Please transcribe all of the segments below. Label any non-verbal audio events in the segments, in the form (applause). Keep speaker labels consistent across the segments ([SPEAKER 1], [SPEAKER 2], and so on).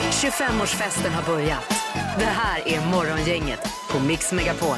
[SPEAKER 1] 25-årsfesten har börjat. Det här är Morgongänget på Mix Megapol.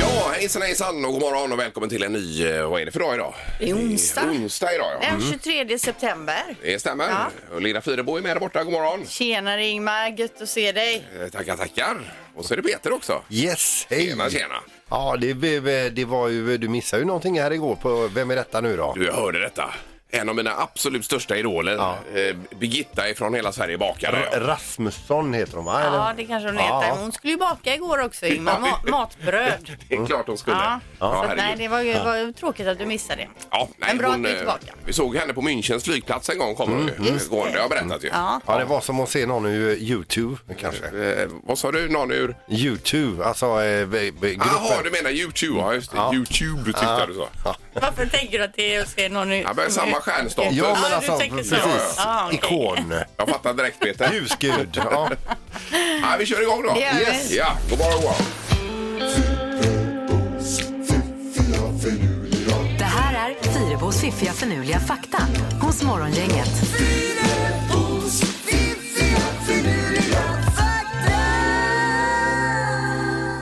[SPEAKER 2] Ja, hejsan hejsan och god morgon och välkommen till en ny, eh, vad är det för dag idag?
[SPEAKER 3] Det är onsdag.
[SPEAKER 2] Det är Onsdag idag ja.
[SPEAKER 3] Den 23 september.
[SPEAKER 2] Det stämmer.
[SPEAKER 3] Ja.
[SPEAKER 2] Och Linda Fyrebo är med där borta, god morgon.
[SPEAKER 3] Tjenare Ingmar, gött att se dig.
[SPEAKER 2] Eh, Tackar, tackar. Och så är det Peter också.
[SPEAKER 4] Yes, hej!
[SPEAKER 2] Tjena, tjena.
[SPEAKER 4] Ja, det, blev- det var ju, du missade ju någonting här igår på Vem är detta nu då?
[SPEAKER 2] Du, jag hörde detta. En av mina absolut största idoler,
[SPEAKER 4] Ja.
[SPEAKER 2] eh, Birgitta ifrån Hela Sverige bakar.
[SPEAKER 4] R- Rasmusson heter hon va?
[SPEAKER 3] Ja,
[SPEAKER 4] Eller?
[SPEAKER 3] det kanske hon
[SPEAKER 4] Ja.
[SPEAKER 3] heter. Hon skulle ju baka igår också Ingmar, Ma
[SPEAKER 2] (laughs)
[SPEAKER 3] matbröd.
[SPEAKER 2] Det är klart hon skulle.
[SPEAKER 3] Ja. Så att, nej,
[SPEAKER 2] herregud.
[SPEAKER 3] det var ju var ju tråkigt att du missade det.
[SPEAKER 2] Ja, nej,
[SPEAKER 3] Men bra
[SPEAKER 2] hon,
[SPEAKER 3] att du är
[SPEAKER 2] eh,
[SPEAKER 3] tillbaka.
[SPEAKER 2] Vi såg henne på Münchens flygplats en gång, kommer hon
[SPEAKER 4] Mm,
[SPEAKER 2] ju. Gående, jag har berättat ju.
[SPEAKER 3] Ja.
[SPEAKER 4] Ja, det var som att se någon ur YouTube kanske.
[SPEAKER 2] Eh, vad sa du? Någon ur...
[SPEAKER 4] YouTube, alltså eh, b- b- gruppen.
[SPEAKER 2] Jaha, du menar YouTube? Ja, just det. YouTube tyckte jag du sa.
[SPEAKER 3] Varför tänker du att det är att se någon nu?
[SPEAKER 2] Ja, men samma stjärnstatus.
[SPEAKER 4] Ja, men
[SPEAKER 3] du
[SPEAKER 4] alltså,
[SPEAKER 3] tänker
[SPEAKER 4] precis.
[SPEAKER 3] så. Ja, okej.
[SPEAKER 4] Ikon.
[SPEAKER 2] Jag fattar direkt Peter.
[SPEAKER 4] Ljusgud. Ja.
[SPEAKER 2] Ja, vi kör igång då.
[SPEAKER 3] Det gör vi.
[SPEAKER 4] Yes.
[SPEAKER 2] Ja, god morgon, god morgon.
[SPEAKER 1] Det här är Fyrebos fiffiga förnuliga fakta hos Morgongänget.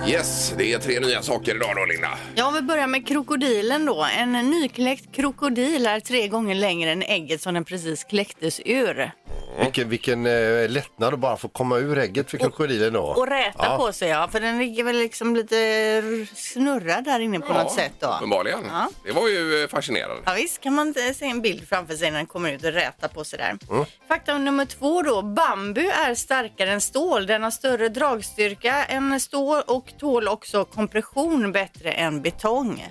[SPEAKER 2] Yes, det är tre nya saker idag då Linda.
[SPEAKER 3] Ja, om vi börjar med krokodilen då. En nykläckt krokodil är tre gånger längre än ägget som den precis kläcktes ur.
[SPEAKER 4] Vilken, vilken eh, lättnad att bara få komma ur ägget för krokodilen då.
[SPEAKER 3] Och räta
[SPEAKER 4] ja.
[SPEAKER 3] på sig ja, för den ligger väl liksom lite r- snurrad där inne på något sätt då.
[SPEAKER 2] Uppenbarligen.
[SPEAKER 3] Ja.
[SPEAKER 2] Det var ju eh, fascinerande.
[SPEAKER 3] Ja, visst kan man eh, se en bild framför sig när den kommer ut och rätar på sig där. Fakta nummer två då. Bambu är starkare än stål. Den har större dragstyrka än stål och tål också kompression bättre än betong.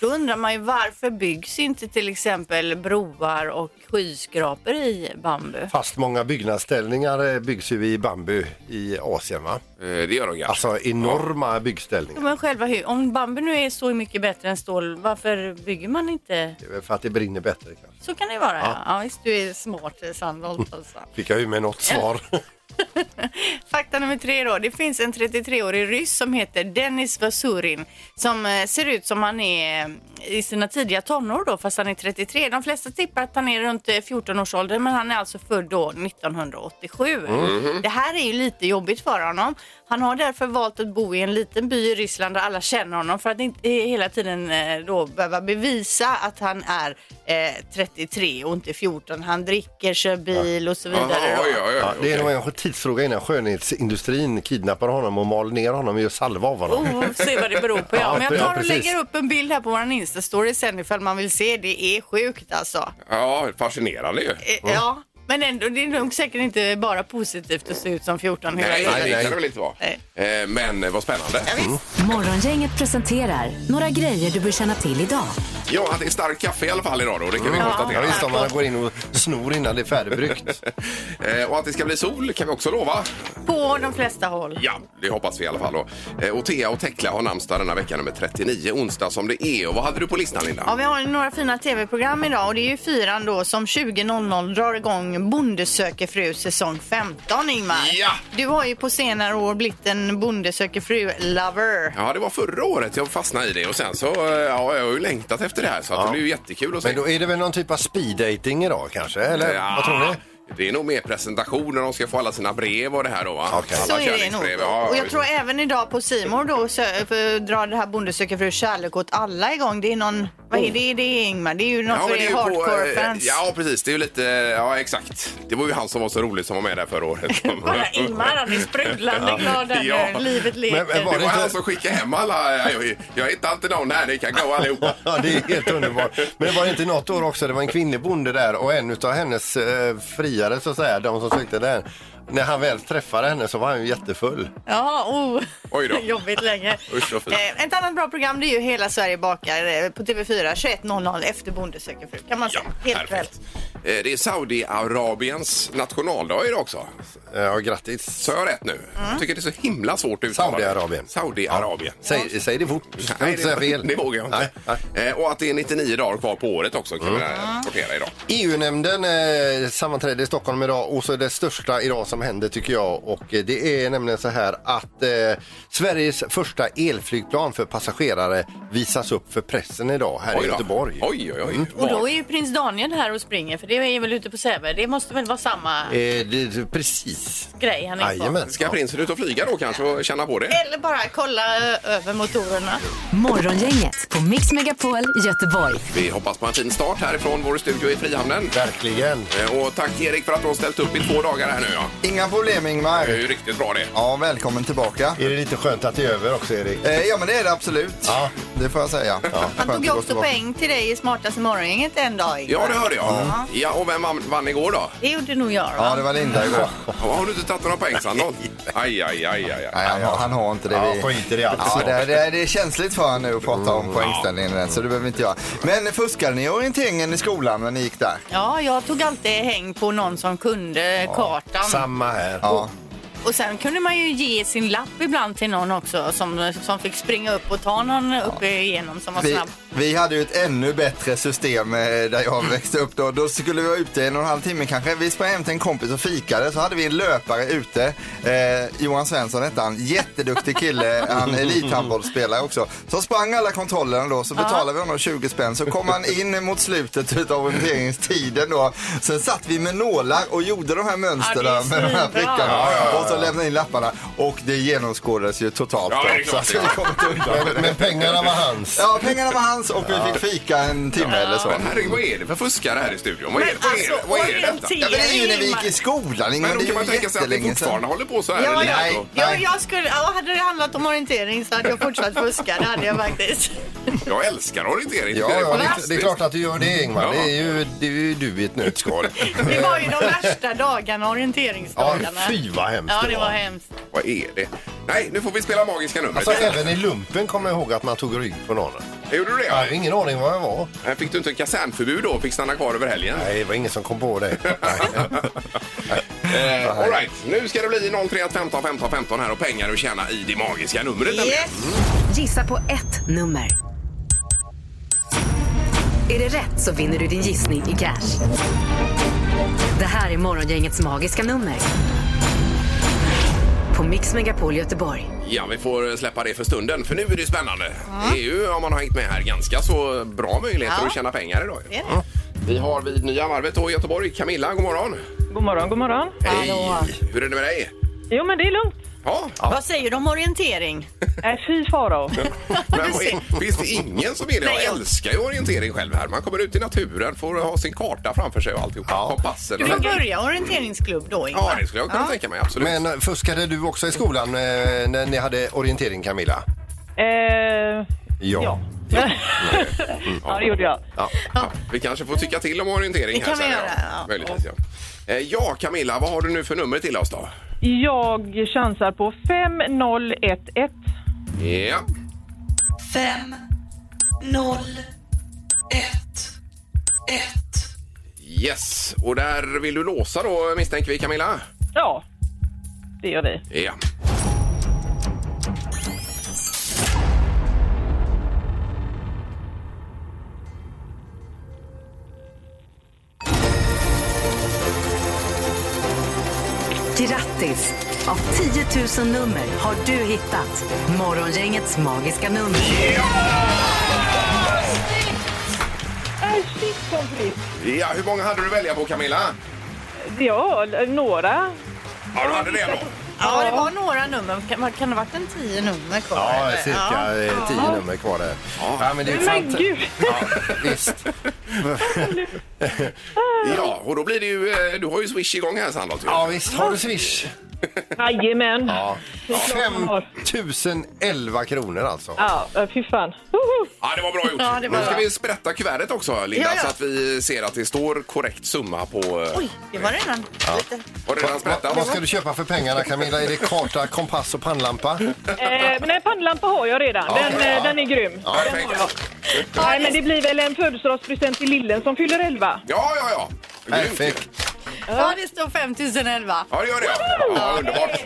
[SPEAKER 3] Då undrar man ju varför byggs inte till exempel broar och skyskrapor i bambu?
[SPEAKER 4] Fast många byggnadsställningar eh, byggs ju i bambu i Asien va?
[SPEAKER 2] Eh, Det gör de kanske.
[SPEAKER 4] Alltså enorma byggställningar.
[SPEAKER 3] Ja, Men själva hur, om bambu nu är så mycket bättre än stål, varför bygger man inte?
[SPEAKER 4] Det är väl För att det brinner bättre kanske.
[SPEAKER 3] Så kan det vara. Ja, ja visst, du är smart eh, Sandholt alltså.
[SPEAKER 4] Fick jag ju med något
[SPEAKER 3] (laughs)
[SPEAKER 4] svar.
[SPEAKER 3] Fakta nummer tre då. Det finns en 33-årig ryss som heter Dennis Vasurin som eh, ser ut som han är eh, i sina tidiga tonår då fast han är 33. De flesta tippar att han är runt eh, 14-årsåldern men han är alltså född då 1987.
[SPEAKER 2] Mm.
[SPEAKER 3] Det här är ju lite jobbigt för honom. Han har därför valt att bo i en liten by i Ryssland där alla känner honom för att inte eh, hela tiden eh, då behöva bevisa att han är eh, 33 och inte 14. Han dricker, kör bil och så vidare.
[SPEAKER 2] Aha,
[SPEAKER 3] då.
[SPEAKER 2] oj, oj, oj,
[SPEAKER 4] Ja, det är
[SPEAKER 2] okej.
[SPEAKER 4] nog en tidsfråga innan skönhetsindustrin kidnappar honom och mal ner honom och gör salva av honom.
[SPEAKER 3] Oh, se vad det beror på. Ja.
[SPEAKER 4] (laughs) Ja,
[SPEAKER 3] Men jag
[SPEAKER 4] ja,
[SPEAKER 3] tar och
[SPEAKER 4] precis.
[SPEAKER 3] lägger upp en bild här på vår Insta-story sen ifall man vill se. Det är sjukt alltså.
[SPEAKER 2] Ja, fascinerande ju.
[SPEAKER 3] E- Ja, men ändå, det är nog säkert inte bara positivt att se ut som 14 hela
[SPEAKER 2] Nej,
[SPEAKER 3] tiden.
[SPEAKER 2] det
[SPEAKER 4] nej.
[SPEAKER 2] kan det väl inte vara. Eh, Men eh, vad spännande.
[SPEAKER 1] Morgongänget presenterar några grejer du bör känna till idag.
[SPEAKER 2] Ja, att det är stark kaffe i alla fall idag då. Det kan vi
[SPEAKER 3] Mm.
[SPEAKER 4] Ja,
[SPEAKER 2] konstatera.
[SPEAKER 4] visst, om man går in och snor innan det är
[SPEAKER 3] (laughs)
[SPEAKER 4] färdigbryggt.
[SPEAKER 2] (laughs) Eh, Och att det ska bli sol kan vi också lova.
[SPEAKER 3] På de flesta håll.
[SPEAKER 2] Ja, det hoppas vi i alla fall. Då. Eh, Och Thea och Tekla har namnsdag denna vecka, nummer 39, onsdag som det är. Och vad hade du på listan, Linda?
[SPEAKER 3] Ja, vi har några fina tv-program idag och det är ju fyran då som 20.00 drar igång Bonde söker fru säsong 15 Ingmar.
[SPEAKER 2] Ja.
[SPEAKER 3] Du har ju på senare år blivit en Bonde söker fru-lover.
[SPEAKER 2] Ja, det var förra året jag fastnade i det och sen så eh, ja, jag har ju längtat efter det här så att det blir ju jättekul att se.
[SPEAKER 4] Men då är det väl någon typ av speeddating idag kanske? Eller
[SPEAKER 2] Ja,
[SPEAKER 4] vad tror ni?
[SPEAKER 2] Det är nog mer presentationer, de ska få alla sina brev och det här då va?
[SPEAKER 4] Okej.
[SPEAKER 2] Alla
[SPEAKER 3] Så är det nog.
[SPEAKER 2] kärleksbrev, ja, ja,
[SPEAKER 3] och jag
[SPEAKER 2] visst.
[SPEAKER 3] tror även idag på Simor då så, eh, för, drar det här Bonde söker fru kärlek åt alla igång. Det är någon, vad är det, det är Ingmar? Det är ju något
[SPEAKER 2] Oh. men
[SPEAKER 3] för
[SPEAKER 2] det är
[SPEAKER 3] er
[SPEAKER 2] ju på, eh,
[SPEAKER 3] hardcore-fans.
[SPEAKER 2] Ja, precis. Det är ju lite... Ja, exakt. Det var ju han som var så rolig som var med där förra
[SPEAKER 3] (laughs)
[SPEAKER 2] året.
[SPEAKER 3] Kolla Ingmar, han är sprudlande glad där
[SPEAKER 2] (laughs) Ja.
[SPEAKER 3] nu. Livet leker.
[SPEAKER 4] Men- men
[SPEAKER 2] Det
[SPEAKER 4] var-
[SPEAKER 2] var han som skickade hem alla. Jag, jag hittar inte någon här, ni kan gå allihopa.
[SPEAKER 4] (laughs) (laughs) Ja, det är helt underbart. Men var det inte något år också, det var en kvinnlig bonde där och en utav hennes eh, friare så att säga, de som sökte den. När han väl träffade henne så var han ju jättefull.
[SPEAKER 3] Ja, oh.
[SPEAKER 2] Oj då.
[SPEAKER 3] (laughs) Jobbigt länge.
[SPEAKER 2] Usch, vad fint.
[SPEAKER 3] eh, ett annat bra program det är ju Hela Sverige bakar eh, på TV4 21.00 efter Bonde söker fru. Kan man säga. Alltså, Helt rätt.
[SPEAKER 2] Eh, Det är Saudiarabiens nationaldag idag också.
[SPEAKER 4] Eh, Ja, grattis.
[SPEAKER 2] Så jag rätt nu?
[SPEAKER 3] Mm.
[SPEAKER 2] Jag tycker det är så himla svårt att uttala. det.
[SPEAKER 4] Saudiarabien.
[SPEAKER 2] Saudiarabien.
[SPEAKER 4] Säg, säg det fort. Jag kan inte
[SPEAKER 2] det,
[SPEAKER 4] säga fel.
[SPEAKER 2] det vågar jag inte.
[SPEAKER 4] Nej, Mm. nej.
[SPEAKER 2] Eh, Och att det är 99 dagar kvar på året också kan vi rapportera idag.
[SPEAKER 4] E EU-nämnden eh, sammanträder i Stockholm idag och så är det största idag som som händer tycker jag och eh, det är nämligen så här att eh, Sveriges första elflygplan för passagerare visas upp för pressen idag här i
[SPEAKER 2] då.
[SPEAKER 4] Göteborg. Mm.
[SPEAKER 2] Oj, oj, oj.
[SPEAKER 3] Och då är ju prins Daniel här och springer för det är väl ute på Säve. Det måste väl vara samma
[SPEAKER 4] Eh, det, precis.
[SPEAKER 3] grej han är på.
[SPEAKER 4] Jajamän.
[SPEAKER 2] Ska prinsen ut och flyga då kanske och känna på det?
[SPEAKER 3] Eller bara kolla eh, över motorerna.
[SPEAKER 1] Morgongänget på Mix Megapol Göteborg.
[SPEAKER 2] Vi hoppas på en fin start härifrån vår studio i Frihamnen.
[SPEAKER 4] Verkligen.
[SPEAKER 2] Eh, Och tack Erik för att du har ställt upp i två dagar här nu. Ja.
[SPEAKER 5] Inga problem
[SPEAKER 2] Det är
[SPEAKER 5] Ingmar.
[SPEAKER 2] ju riktigt bra det.
[SPEAKER 5] Ja, välkommen tillbaka.
[SPEAKER 4] Är det lite skönt att det är över också Erik?
[SPEAKER 5] Eh, ja, men det är det absolut.
[SPEAKER 4] Ja.
[SPEAKER 5] Det får jag säga.
[SPEAKER 3] Han
[SPEAKER 5] Skönt
[SPEAKER 3] tog
[SPEAKER 5] att
[SPEAKER 3] ju
[SPEAKER 5] gå
[SPEAKER 3] också
[SPEAKER 5] tillbaka.
[SPEAKER 3] poäng till dig i smartaste morgongänget en dag.
[SPEAKER 2] Ja, det hörde jag. Ja, och vem vann- vann igår då?
[SPEAKER 3] Det gjorde nog jag.
[SPEAKER 5] Ja,
[SPEAKER 3] Va?
[SPEAKER 5] det var Linda igår.
[SPEAKER 2] Ja, Har du inte tagit några poäng Sandholt? Aj, aj, aj, aj. aj.
[SPEAKER 5] Nej, han, har- han har inte det.
[SPEAKER 4] Ja,
[SPEAKER 5] Vi-
[SPEAKER 4] skiter i allt.
[SPEAKER 5] Ja, det, det, det är känsligt för honom nu att prata om poängställningen än, så det behöver vi inte göra. Men fuskade ni i orienteringen i skolan när ni gick där?
[SPEAKER 3] Ja, jag tog alltid häng på någon som kunde kartan.
[SPEAKER 4] Samma här.
[SPEAKER 5] Ja.
[SPEAKER 3] Och sen kunde man ju ge sin lapp ibland till någon också som, som fick springa upp och ta någon uppe igenom som var
[SPEAKER 5] Vi,
[SPEAKER 3] snabb.
[SPEAKER 5] vi hade ju ett ännu bättre system eh, där jag växte upp då. Då skulle vi vara ute en och en halv timme kanske. Vi sprang hem till en kompis och fikade. Så hade vi en löpare ute. Eh, Johan Svensson hette han. Jätteduktig kille. Han är elithandbollsspelare också. Så sprang alla kontrollerna då. Så betalade vi honom 20 spänn. Så kom han in mot slutet av orienteringstiden då. Sen satt vi med nålar och gjorde de här mönstren
[SPEAKER 3] Ja, det är
[SPEAKER 5] med de här
[SPEAKER 3] svinbra.
[SPEAKER 5] prickarna. Och så lämnade in lapparna. Och det genomskådades ju totalt.
[SPEAKER 2] Ja,
[SPEAKER 5] då.
[SPEAKER 2] det är klart.
[SPEAKER 5] Så att vi kom inte undan med det.
[SPEAKER 4] Men pengarna var hans.
[SPEAKER 5] Ja, pengarna var hans och vi fick fika en timme eller så.
[SPEAKER 2] Men herregud, vad är det för fuskare här i studion? Vad är,
[SPEAKER 3] Men
[SPEAKER 2] vad är,
[SPEAKER 3] alltså,
[SPEAKER 2] vad är detta?
[SPEAKER 3] orientering.
[SPEAKER 5] Ja, men det är ju när vi gick i skolan, Ingmar.
[SPEAKER 2] Men då
[SPEAKER 5] Det
[SPEAKER 2] kan
[SPEAKER 5] är
[SPEAKER 2] man
[SPEAKER 5] ju
[SPEAKER 2] tänka sig att vi
[SPEAKER 5] jättelänge sedan.
[SPEAKER 2] fortfarande håller på så här.
[SPEAKER 3] Ja,
[SPEAKER 2] eller?
[SPEAKER 3] ja.
[SPEAKER 5] Nej.
[SPEAKER 3] Jag, jag skulle, ja, hade det handlat om orientering så hade jag fortsatt fuska. Det hade jag
[SPEAKER 5] (laughs)
[SPEAKER 3] faktiskt.
[SPEAKER 2] Jag älskar orientering.
[SPEAKER 4] Ja,
[SPEAKER 2] tycker
[SPEAKER 4] ja
[SPEAKER 2] jag är
[SPEAKER 4] det, det är klart att du gör det Ingmar.
[SPEAKER 2] Ja.
[SPEAKER 4] Det är ju, det är ju du i ett nötskal.
[SPEAKER 3] Det var ju de värsta dagarna,
[SPEAKER 4] Ja,
[SPEAKER 3] orienteringsdagarna.
[SPEAKER 4] fy vad hemskt
[SPEAKER 3] Ja, det var hemskt.
[SPEAKER 2] Vad är det? Nej, nu får vi spela magiska numret.
[SPEAKER 4] Alltså även i lumpen kommer jag ihåg att man tog rygg på någon.
[SPEAKER 2] Gjorde du det?
[SPEAKER 4] Jag har ju ingen aning vad jag var.
[SPEAKER 2] Här Fick du inte kasernförbud då? Fick stanna kvar över helgen?
[SPEAKER 4] Nej, det var ingen som kom på det.
[SPEAKER 2] Eh, all right. Nu ska det bli 031 15 15 15 här och pengar att tjäna i det magiska numret. nämligen.
[SPEAKER 3] Yes.
[SPEAKER 1] Gissa på ett nummer. Är det rätt så vinner du din gissning i cash. Det här är Morgongängets magiska nummer. På Mix Megapol Göteborg.
[SPEAKER 2] Ja, vi får släppa det för stunden, för nu är det spännande. Det är ju, om man har hängt med här, ganska så bra möjligheter
[SPEAKER 3] Ja.
[SPEAKER 2] att tjäna pengar idag.
[SPEAKER 3] Det är det.
[SPEAKER 2] Mm. Vi har vid Nya Varvet då i Göteborg. Camilla, god morgon.
[SPEAKER 6] God morgon, god morgon.
[SPEAKER 3] Hallå.
[SPEAKER 2] Hur är det med dig?
[SPEAKER 6] Jo, men det är lugnt.
[SPEAKER 2] Ja,
[SPEAKER 3] Vad säger du om orientering?
[SPEAKER 6] Nej, fy farao.
[SPEAKER 2] (laughs) men vad är, finns det ingen som vill det? Jag
[SPEAKER 3] Nej.
[SPEAKER 2] älskar ju orientering själv här. Man kommer ut i naturen, får ha sin karta framför sig och alltihopa. Kompassen.
[SPEAKER 3] Du
[SPEAKER 2] och
[SPEAKER 3] får
[SPEAKER 2] den-
[SPEAKER 3] börja orienteringsklubb då, Ingmar.
[SPEAKER 2] Ja, det skulle jag kunna tänka mig,
[SPEAKER 4] (laughs)
[SPEAKER 2] absolut.
[SPEAKER 4] Men eh, fuskade du också i skolan eh, när ni hade orientering Camilla?
[SPEAKER 6] Eh, ja. ja, det gjorde jag.
[SPEAKER 2] Ja. Vi kanske får tycka till om orientering
[SPEAKER 3] Det
[SPEAKER 2] här
[SPEAKER 3] kan vi
[SPEAKER 2] sen,
[SPEAKER 3] göra, ja.
[SPEAKER 2] Möjligtvis, ja. Eh, Ja, Camilla, vad har du nu för nummer till oss då?
[SPEAKER 6] Jag chansar på 5011.
[SPEAKER 2] Ja,
[SPEAKER 7] fem noll ett ett
[SPEAKER 2] yes. Och där vill du låsa då misstänker vi Camilla?
[SPEAKER 6] Ja, det gör vi.
[SPEAKER 2] Ja.
[SPEAKER 1] Grattis! Av 10 000 nummer har du hittat Morgongängets magiska nummer.
[SPEAKER 6] Nej, Äh, shit som fritt.
[SPEAKER 2] ja, hur många hade du att välja på Camilla?
[SPEAKER 6] Ja, l- några.
[SPEAKER 2] Ja, du hade det då.
[SPEAKER 3] Ja, det var några nummer. Kan, kan det ha varit en tio nummer kvar?
[SPEAKER 4] Ja,
[SPEAKER 3] eller?
[SPEAKER 4] cirka
[SPEAKER 3] Ja.
[SPEAKER 4] eh, tio nummer kvar där. Ja, men det är
[SPEAKER 6] Men
[SPEAKER 4] fantastiskt.
[SPEAKER 6] gud!
[SPEAKER 4] Visst.
[SPEAKER 2] Ja, och då blir det ju, eh, du har ju Swish igång här Sandholt. ju.
[SPEAKER 4] Ja, visst. Har du Swish?
[SPEAKER 6] Jajamän.
[SPEAKER 4] Ja.
[SPEAKER 6] Ja.
[SPEAKER 4] 5 011 kronor alltså.
[SPEAKER 6] Ja, eh, fy fan. Woho!
[SPEAKER 2] Ja, det var bra gjort.
[SPEAKER 3] Ja, det var
[SPEAKER 2] nu ska
[SPEAKER 3] bra.
[SPEAKER 2] vi sprätta kuvertet också Linda
[SPEAKER 3] Ja, ja.
[SPEAKER 2] så att vi ser att det står korrekt summa på... eh,
[SPEAKER 3] Oj, det var redan lite.
[SPEAKER 2] Har du redan
[SPEAKER 4] Va,
[SPEAKER 2] sprättat?
[SPEAKER 4] vad ska du köpa för pengarna Camilla? Är det karta, kompass och pannlampa?
[SPEAKER 6] Eh, men en pannlampa har jag redan. Den,
[SPEAKER 4] okej,
[SPEAKER 6] eh,
[SPEAKER 4] ja.
[SPEAKER 6] den är grym.
[SPEAKER 2] Ja, perfekt.
[SPEAKER 6] Nej, men det blir väl en födelsedagspresent till lillen som fyller 11.
[SPEAKER 2] Ja, ja, ja. Grymt.
[SPEAKER 4] Perfekt.
[SPEAKER 3] Ja, det står 5011.
[SPEAKER 2] Ja, det gör det. ja. Ja, underbart.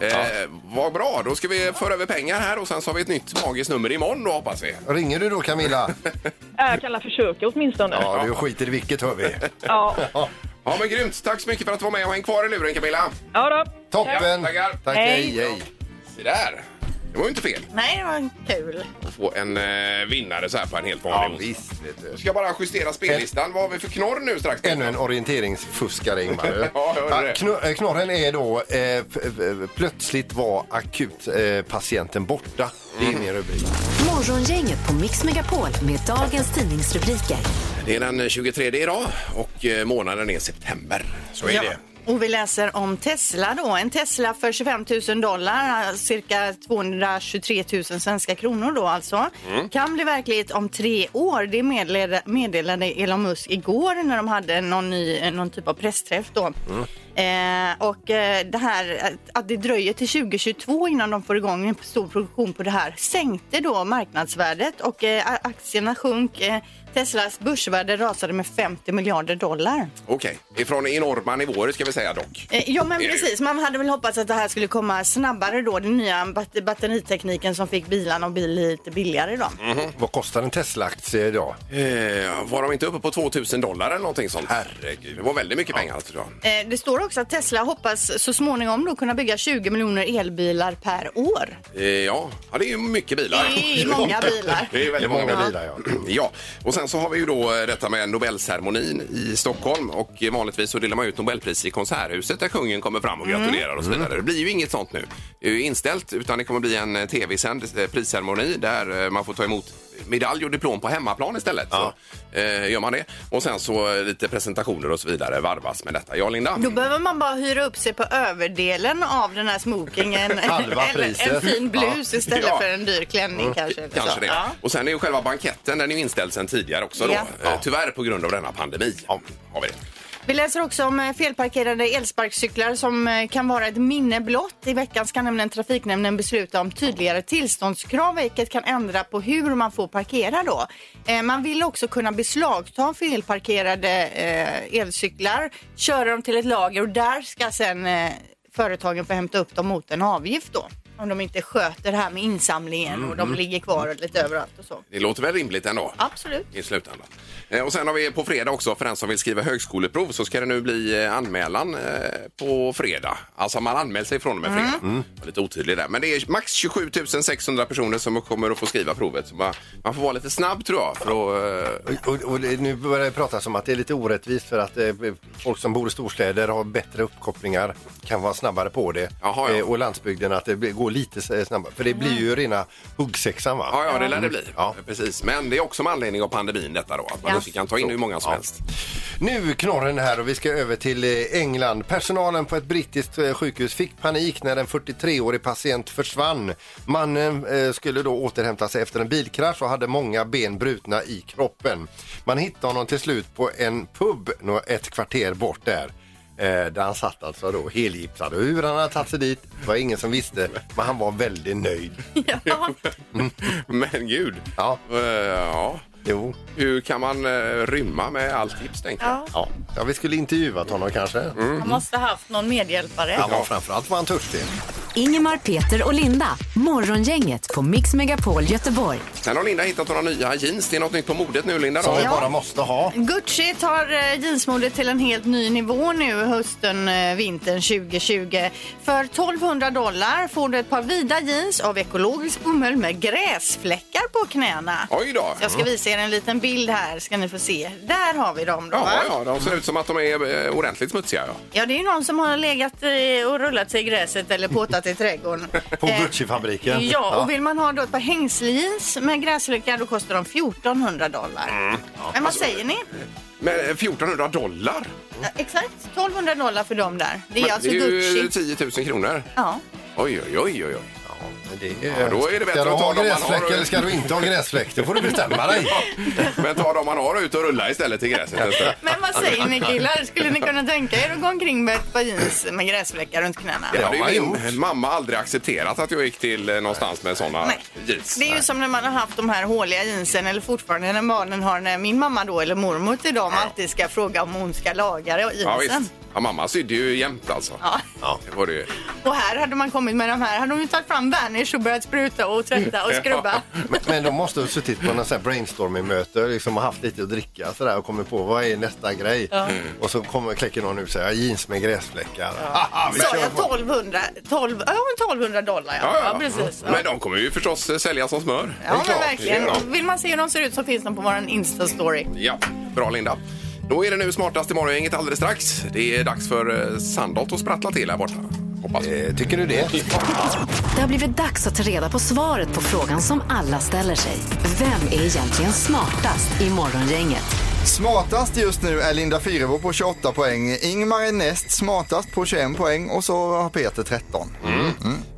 [SPEAKER 2] Eh, vad bra, då ska vi föra över pengar här och sen så har vi ett nytt magiskt nummer imorgon då hoppas vi.
[SPEAKER 4] Ringer du då Camilla?
[SPEAKER 6] Eh, Jag kan alla försöka åtminstone.
[SPEAKER 2] (laughs)
[SPEAKER 4] Ja, du skiter i vilket hör vi.
[SPEAKER 6] Ja.
[SPEAKER 2] Ja, Ja, men grymt. Tack så mycket för att du var med och häng kvar i luren Camilla.
[SPEAKER 6] Ja då.
[SPEAKER 4] Toppen!
[SPEAKER 2] Tackar.
[SPEAKER 4] Tack,
[SPEAKER 6] Hej.
[SPEAKER 4] hej, hej.
[SPEAKER 2] Se där. Det var ju inte fel
[SPEAKER 3] Nej, det var kul.
[SPEAKER 2] att få en eh, vinnare så här på en helt
[SPEAKER 4] Ja,
[SPEAKER 2] vanlig onsdag.
[SPEAKER 4] visst, vet du.
[SPEAKER 2] Jag ska bara justera spellistan. Vad har vi för knorr nu strax?
[SPEAKER 4] Ännu en orienteringsfuskare, Ingmar.
[SPEAKER 2] (laughs) Ja, jag hörde det.
[SPEAKER 4] kno- eh, knorren är då eh, p- p- plötsligt var akutpatienten borta. Det
[SPEAKER 2] Mm.
[SPEAKER 4] är min rubrik.
[SPEAKER 1] Morgongänget på Mix Megapol med dagens tidningsrubriker.
[SPEAKER 2] Det är den 23 idag och eh, månaden är september. Så är det.
[SPEAKER 3] Och vi läser om Tesla då. En Tesla för 25 000 dollar, alltså cirka 223 000 svenska kronor då alltså, kan bli verklighet om tre år. Det meddelade, meddelade Elon Musk igår när de hade någon, ny, någon typ av pressträff då. Eh, och eh, det här att- att det dröjer till 2022 innan de får igång en stor produktion på det här sänkte då marknadsvärdet och eh, aktierna sjönk. Eh, Teslas börsvärde rasade med 50 miljarder dollar.
[SPEAKER 2] Okej, ifrån enorma nivåer ska vi säga dock.
[SPEAKER 3] Eh, Ja men
[SPEAKER 2] Är det ju.
[SPEAKER 3] precis, man hade väl hoppats att det här skulle komma snabbare då, den nya bat- batteritekniken som fick bilarna att bli lite billigare då.
[SPEAKER 2] Mm.
[SPEAKER 4] Vad kostar en Tesla-aktie idag?
[SPEAKER 2] Eh, var de inte uppe på 2000 dollar eller någonting sånt? Herregud, det var väldigt mycket pengar alltså. tror jag.
[SPEAKER 3] Eh, Det står också att Tesla hoppas så småningom då kunna bygga 20 miljoner elbilar per år.
[SPEAKER 2] Eh, ja. ja, det är ju mycket bilar.
[SPEAKER 3] Det är
[SPEAKER 2] (laughs)
[SPEAKER 3] många bilar.
[SPEAKER 2] Det är
[SPEAKER 4] Det är
[SPEAKER 2] väldigt
[SPEAKER 4] många
[SPEAKER 2] många bilar.
[SPEAKER 4] bilar, ja.
[SPEAKER 2] Ja, (clears throat) och sen så har vi ju då eh, detta med Nobelceremonin i Stockholm och eh, vanligtvis så delar man ut Nobelpriset i Konserthuset där kungen kommer fram
[SPEAKER 4] Mm.
[SPEAKER 2] och gratulerar och så vidare. Det blir ju inget sånt nu. Det är ju inställt utan det kommer bli en eh, tv-sänd eh, prisceremoni där eh, man får ta emot medalj och diplom på hemmaplan istället. Så, eh, gör man det. Och sen så eh, lite presentationer och så vidare varvas med detta. Ja, Linda?
[SPEAKER 3] Då behöver man bara hyra upp sig på överdelen av den här smokingen.
[SPEAKER 2] (laughs)
[SPEAKER 4] Halva
[SPEAKER 3] Eller en
[SPEAKER 4] priset.
[SPEAKER 3] fin blus istället
[SPEAKER 2] Ja. Mm.
[SPEAKER 3] för en dyr klänning kanske. eller så.
[SPEAKER 2] Kanske det.
[SPEAKER 3] Ja.
[SPEAKER 2] Och sen är ju själva banketten den är ju inställd sedan tidigare också då.
[SPEAKER 3] Ja.
[SPEAKER 2] Eh, Tyvärr på grund av denna pandemi. Har vi det.
[SPEAKER 3] Vi läser också om eh, felparkerade elsparkcyklar som eh, kan vara ett minne blott. I veckan ska nämligen Trafiknämnden besluta om tydligare tillståndskrav vilket kan ändra på hur man får parkera då. Eh, Man vill också kunna beslagta felparkerade eh, elcyklar, köra dem till ett lager och där ska sen eh, företagen få hämta upp dem mot en avgift då. Om de inte sköter det här med insamlingen och de ligger kvar lite överallt och så.
[SPEAKER 2] Det låter väl rimligt ändå?
[SPEAKER 3] Absolut.
[SPEAKER 2] i slutändan. Eh, Och sen har vi på fredag också, för den som vill skriva högskoleprov så ska det nu bli eh, anmälan eh, på fredag. Alltså man anmäler sig från och med fredag.
[SPEAKER 3] Mm.
[SPEAKER 2] Jag var Lite otydlig där. Men det är max 27 600 personer som kommer att få skriva provet. Så man, man får vara lite snabb tror jag. För att, eh,
[SPEAKER 4] Och, och det, nu börjar det pratas om att det är lite orättvist för att eh, folk som bor i storstäder har bättre uppkopplingar, kan vara snabbare på det.
[SPEAKER 2] Jaha, ja. Mm.
[SPEAKER 4] Eh, och landsbygden att det blir- går lite eh, snabbare. För det blir ju rena huggsexan va? Mm.
[SPEAKER 2] ja, ja, det lär det bli.
[SPEAKER 4] Ja.
[SPEAKER 2] Precis. Men det är också med anledning av pandemin detta då. Att man
[SPEAKER 3] Ja.
[SPEAKER 2] inte kan ta in hur många som helst.
[SPEAKER 4] Nu knorren här och vi ska över till eh, England. Personalen på ett brittiskt eh, sjukhus fick panik när en 43-årig patient försvann. Mannen eh, skulle då återhämta sig efter en bilkrasch och hade många ben brutna i kroppen. Man hittade honom till slut på en pub nå- ett kvarter bort där. Eh, där han satt alltså då helgipsad. Och Hur han hade tagit sig dit var ingen som visste, men han var väldigt nöjd.
[SPEAKER 3] Ja.
[SPEAKER 2] Mm. (laughs) Men gud.
[SPEAKER 4] Ja.
[SPEAKER 2] Eh, ja.
[SPEAKER 4] Jo,
[SPEAKER 2] Hur kan man eh, rymma med allt tips tänkte jag.
[SPEAKER 3] Ja.
[SPEAKER 4] ja, ja vi skulle intervjuat honom kanske.
[SPEAKER 3] Han måste ha haft någon medhjälpare.
[SPEAKER 4] Han var framförallt var han törstig.
[SPEAKER 1] Ingemar, Peter och Linda. Morgongänget på Mix Megapol Göteborg.
[SPEAKER 2] Sen har Linda hittat några nya jeans. Det är något nytt på modet nu Linda.
[SPEAKER 4] Som
[SPEAKER 2] då.
[SPEAKER 4] vi
[SPEAKER 3] Ja.
[SPEAKER 4] bara måste ha.
[SPEAKER 3] Gucci tar eh, jeansmodet till en helt ny nivå nu hösten, eh, vintern 2020. För 1200 dollar får du ett par vida jeans av ekologisk bomull med gräsfläckar på knäna.
[SPEAKER 2] Oj då.
[SPEAKER 3] Jag ska visa er en liten bild här ska ni få se. Där har vi dem då va?
[SPEAKER 2] Ja, ja, de ser ut som att de är eh, ordentligt smutsiga. Ja.
[SPEAKER 3] Ja det är ju någon som har legat i och rullat sig i gräset eller påtat i trädgården.
[SPEAKER 4] På
[SPEAKER 3] Eh,
[SPEAKER 4] Gucci-fabriken.
[SPEAKER 3] Ja, och vill man ha då ett par hängslejeans med gräsfläckar då kostar de 1400 dollar. Men vad säger ni?
[SPEAKER 2] Men eh, 1400 dollar?
[SPEAKER 3] Ja, Exakt, 1200 dollar för dem där. Det är
[SPEAKER 2] Men
[SPEAKER 3] alltså
[SPEAKER 2] det är ju
[SPEAKER 3] Gucci.
[SPEAKER 2] 10 000 kronor.
[SPEAKER 3] Ja.
[SPEAKER 2] Oj, oj, oj. oj.
[SPEAKER 4] Det
[SPEAKER 2] Ja, då är det bättre
[SPEAKER 4] ska du
[SPEAKER 2] att ta
[SPEAKER 4] ha
[SPEAKER 2] dem man
[SPEAKER 4] gräsfläck
[SPEAKER 2] har.
[SPEAKER 4] eller ska du inte ha gräsfläck? Då får du bestämma
[SPEAKER 2] (laughs)
[SPEAKER 4] dig.
[SPEAKER 2] Men ta dem man har ut och rulla istället i gräset. nästa.
[SPEAKER 3] Men vad säger ni killar? Skulle ni kunna tänka er att gå omkring med ett par jeans med gräsfläckar runt knäna?
[SPEAKER 2] Det
[SPEAKER 4] har
[SPEAKER 2] hade
[SPEAKER 4] man
[SPEAKER 2] ju min mamma aldrig accepterat att jag gick till eh, någonstans med såna
[SPEAKER 3] Nej.
[SPEAKER 2] jeans.
[SPEAKER 3] Det är ju som när man har haft de här håliga jeansen eller fortfarande när barnen har när min mamma då eller mormor till dem alltid ska fråga om hon ska laga det och
[SPEAKER 2] Ja,
[SPEAKER 3] jeansen.
[SPEAKER 2] visst. Ja, mamma sydde ju jämt alltså.
[SPEAKER 3] Ja.
[SPEAKER 2] Det var det ju.
[SPEAKER 3] Och här hade man kommit med de här, hade de ju tagit fram Vanish och börjat spruta och tvätta och skrubba.
[SPEAKER 4] Men, men de måste ha suttit på någon sån här brainstorming-möte liksom, och haft lite att dricka sådär, och kommit på vad är nästa grej. Och så kommer, kläcker någon ut säger jeans med gräsfläckar. Haha, vi
[SPEAKER 3] Sa
[SPEAKER 4] kör
[SPEAKER 3] jag
[SPEAKER 4] på.
[SPEAKER 3] 1200? 12, ja, men 1200 dollar ja.
[SPEAKER 2] Ja, ja.
[SPEAKER 3] precis. Ja.
[SPEAKER 2] Men de kommer ju förstås eh, sälja som smör. Det är
[SPEAKER 3] Ja, men
[SPEAKER 2] klart. Ja.
[SPEAKER 3] verkligen. Vill man se hur de ser ut så finns de på vår Insta-story.
[SPEAKER 2] Ja, bra Linda. Då är det nu smartast i morgongänget alldeles strax. Det är dags för eh, Sandholt att sprattla till här borta. Hoppas vi.
[SPEAKER 4] Eh, Tycker du det?
[SPEAKER 1] Det har blivit dags att ta reda på svaret på frågan som alla ställer sig. Vem är egentligen smartast i Morgongänget?
[SPEAKER 5] Smartast just nu är Linda Fyrebo på 28 poäng. Ingmar är näst smartast på 21 poäng och så har Peter 13.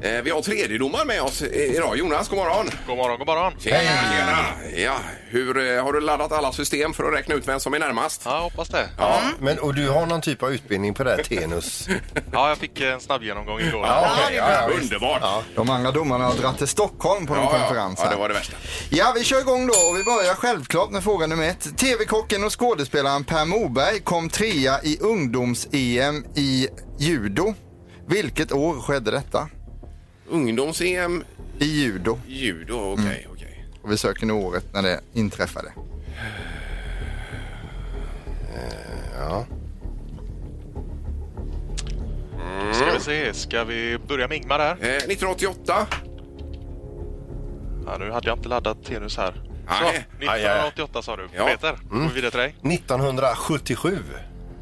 [SPEAKER 2] Eh, Vi har tredjedomaren med oss i- idag. Jonas, god morgon.
[SPEAKER 8] God morgon, god morgon.
[SPEAKER 2] Tjena, tjena. Ja, hur eh, har du laddat alla system för att räkna ut vem som är närmast?
[SPEAKER 8] Ja, hoppas det. Ja.
[SPEAKER 2] Ja,
[SPEAKER 4] Men, och du har någon typ av utbildning på det här Tenus?
[SPEAKER 8] jag fick en snabb genomgång igår.
[SPEAKER 4] okej, ja, ja, visst.
[SPEAKER 2] underbart. Ja,
[SPEAKER 5] De andra domarna har dragit till Stockholm på någon
[SPEAKER 2] ja,
[SPEAKER 5] konferens.
[SPEAKER 2] ja,
[SPEAKER 5] här.
[SPEAKER 2] det var det värsta.
[SPEAKER 5] Ja, vi kör igång då och vi börjar självklart med fråga nummer ett. TV-kocken och skådespelaren Per Morberg kom trea i ungdoms-EM i judo. Vilket år skedde detta?
[SPEAKER 2] Ungdoms-EM,
[SPEAKER 5] I judo.
[SPEAKER 2] judo, okej, okej.
[SPEAKER 5] Och vi söker nu året när det inträffade.
[SPEAKER 4] Ja.
[SPEAKER 8] Ska vi se, ska vi börja med Ingmar här?
[SPEAKER 2] Eh, 1988.
[SPEAKER 8] Ja, nu hade jag inte laddat Tenus här. Så,
[SPEAKER 2] Nej.
[SPEAKER 8] 1988 sa du.
[SPEAKER 2] Ja.
[SPEAKER 8] Peter, går vi vidare till dig.
[SPEAKER 4] 1977.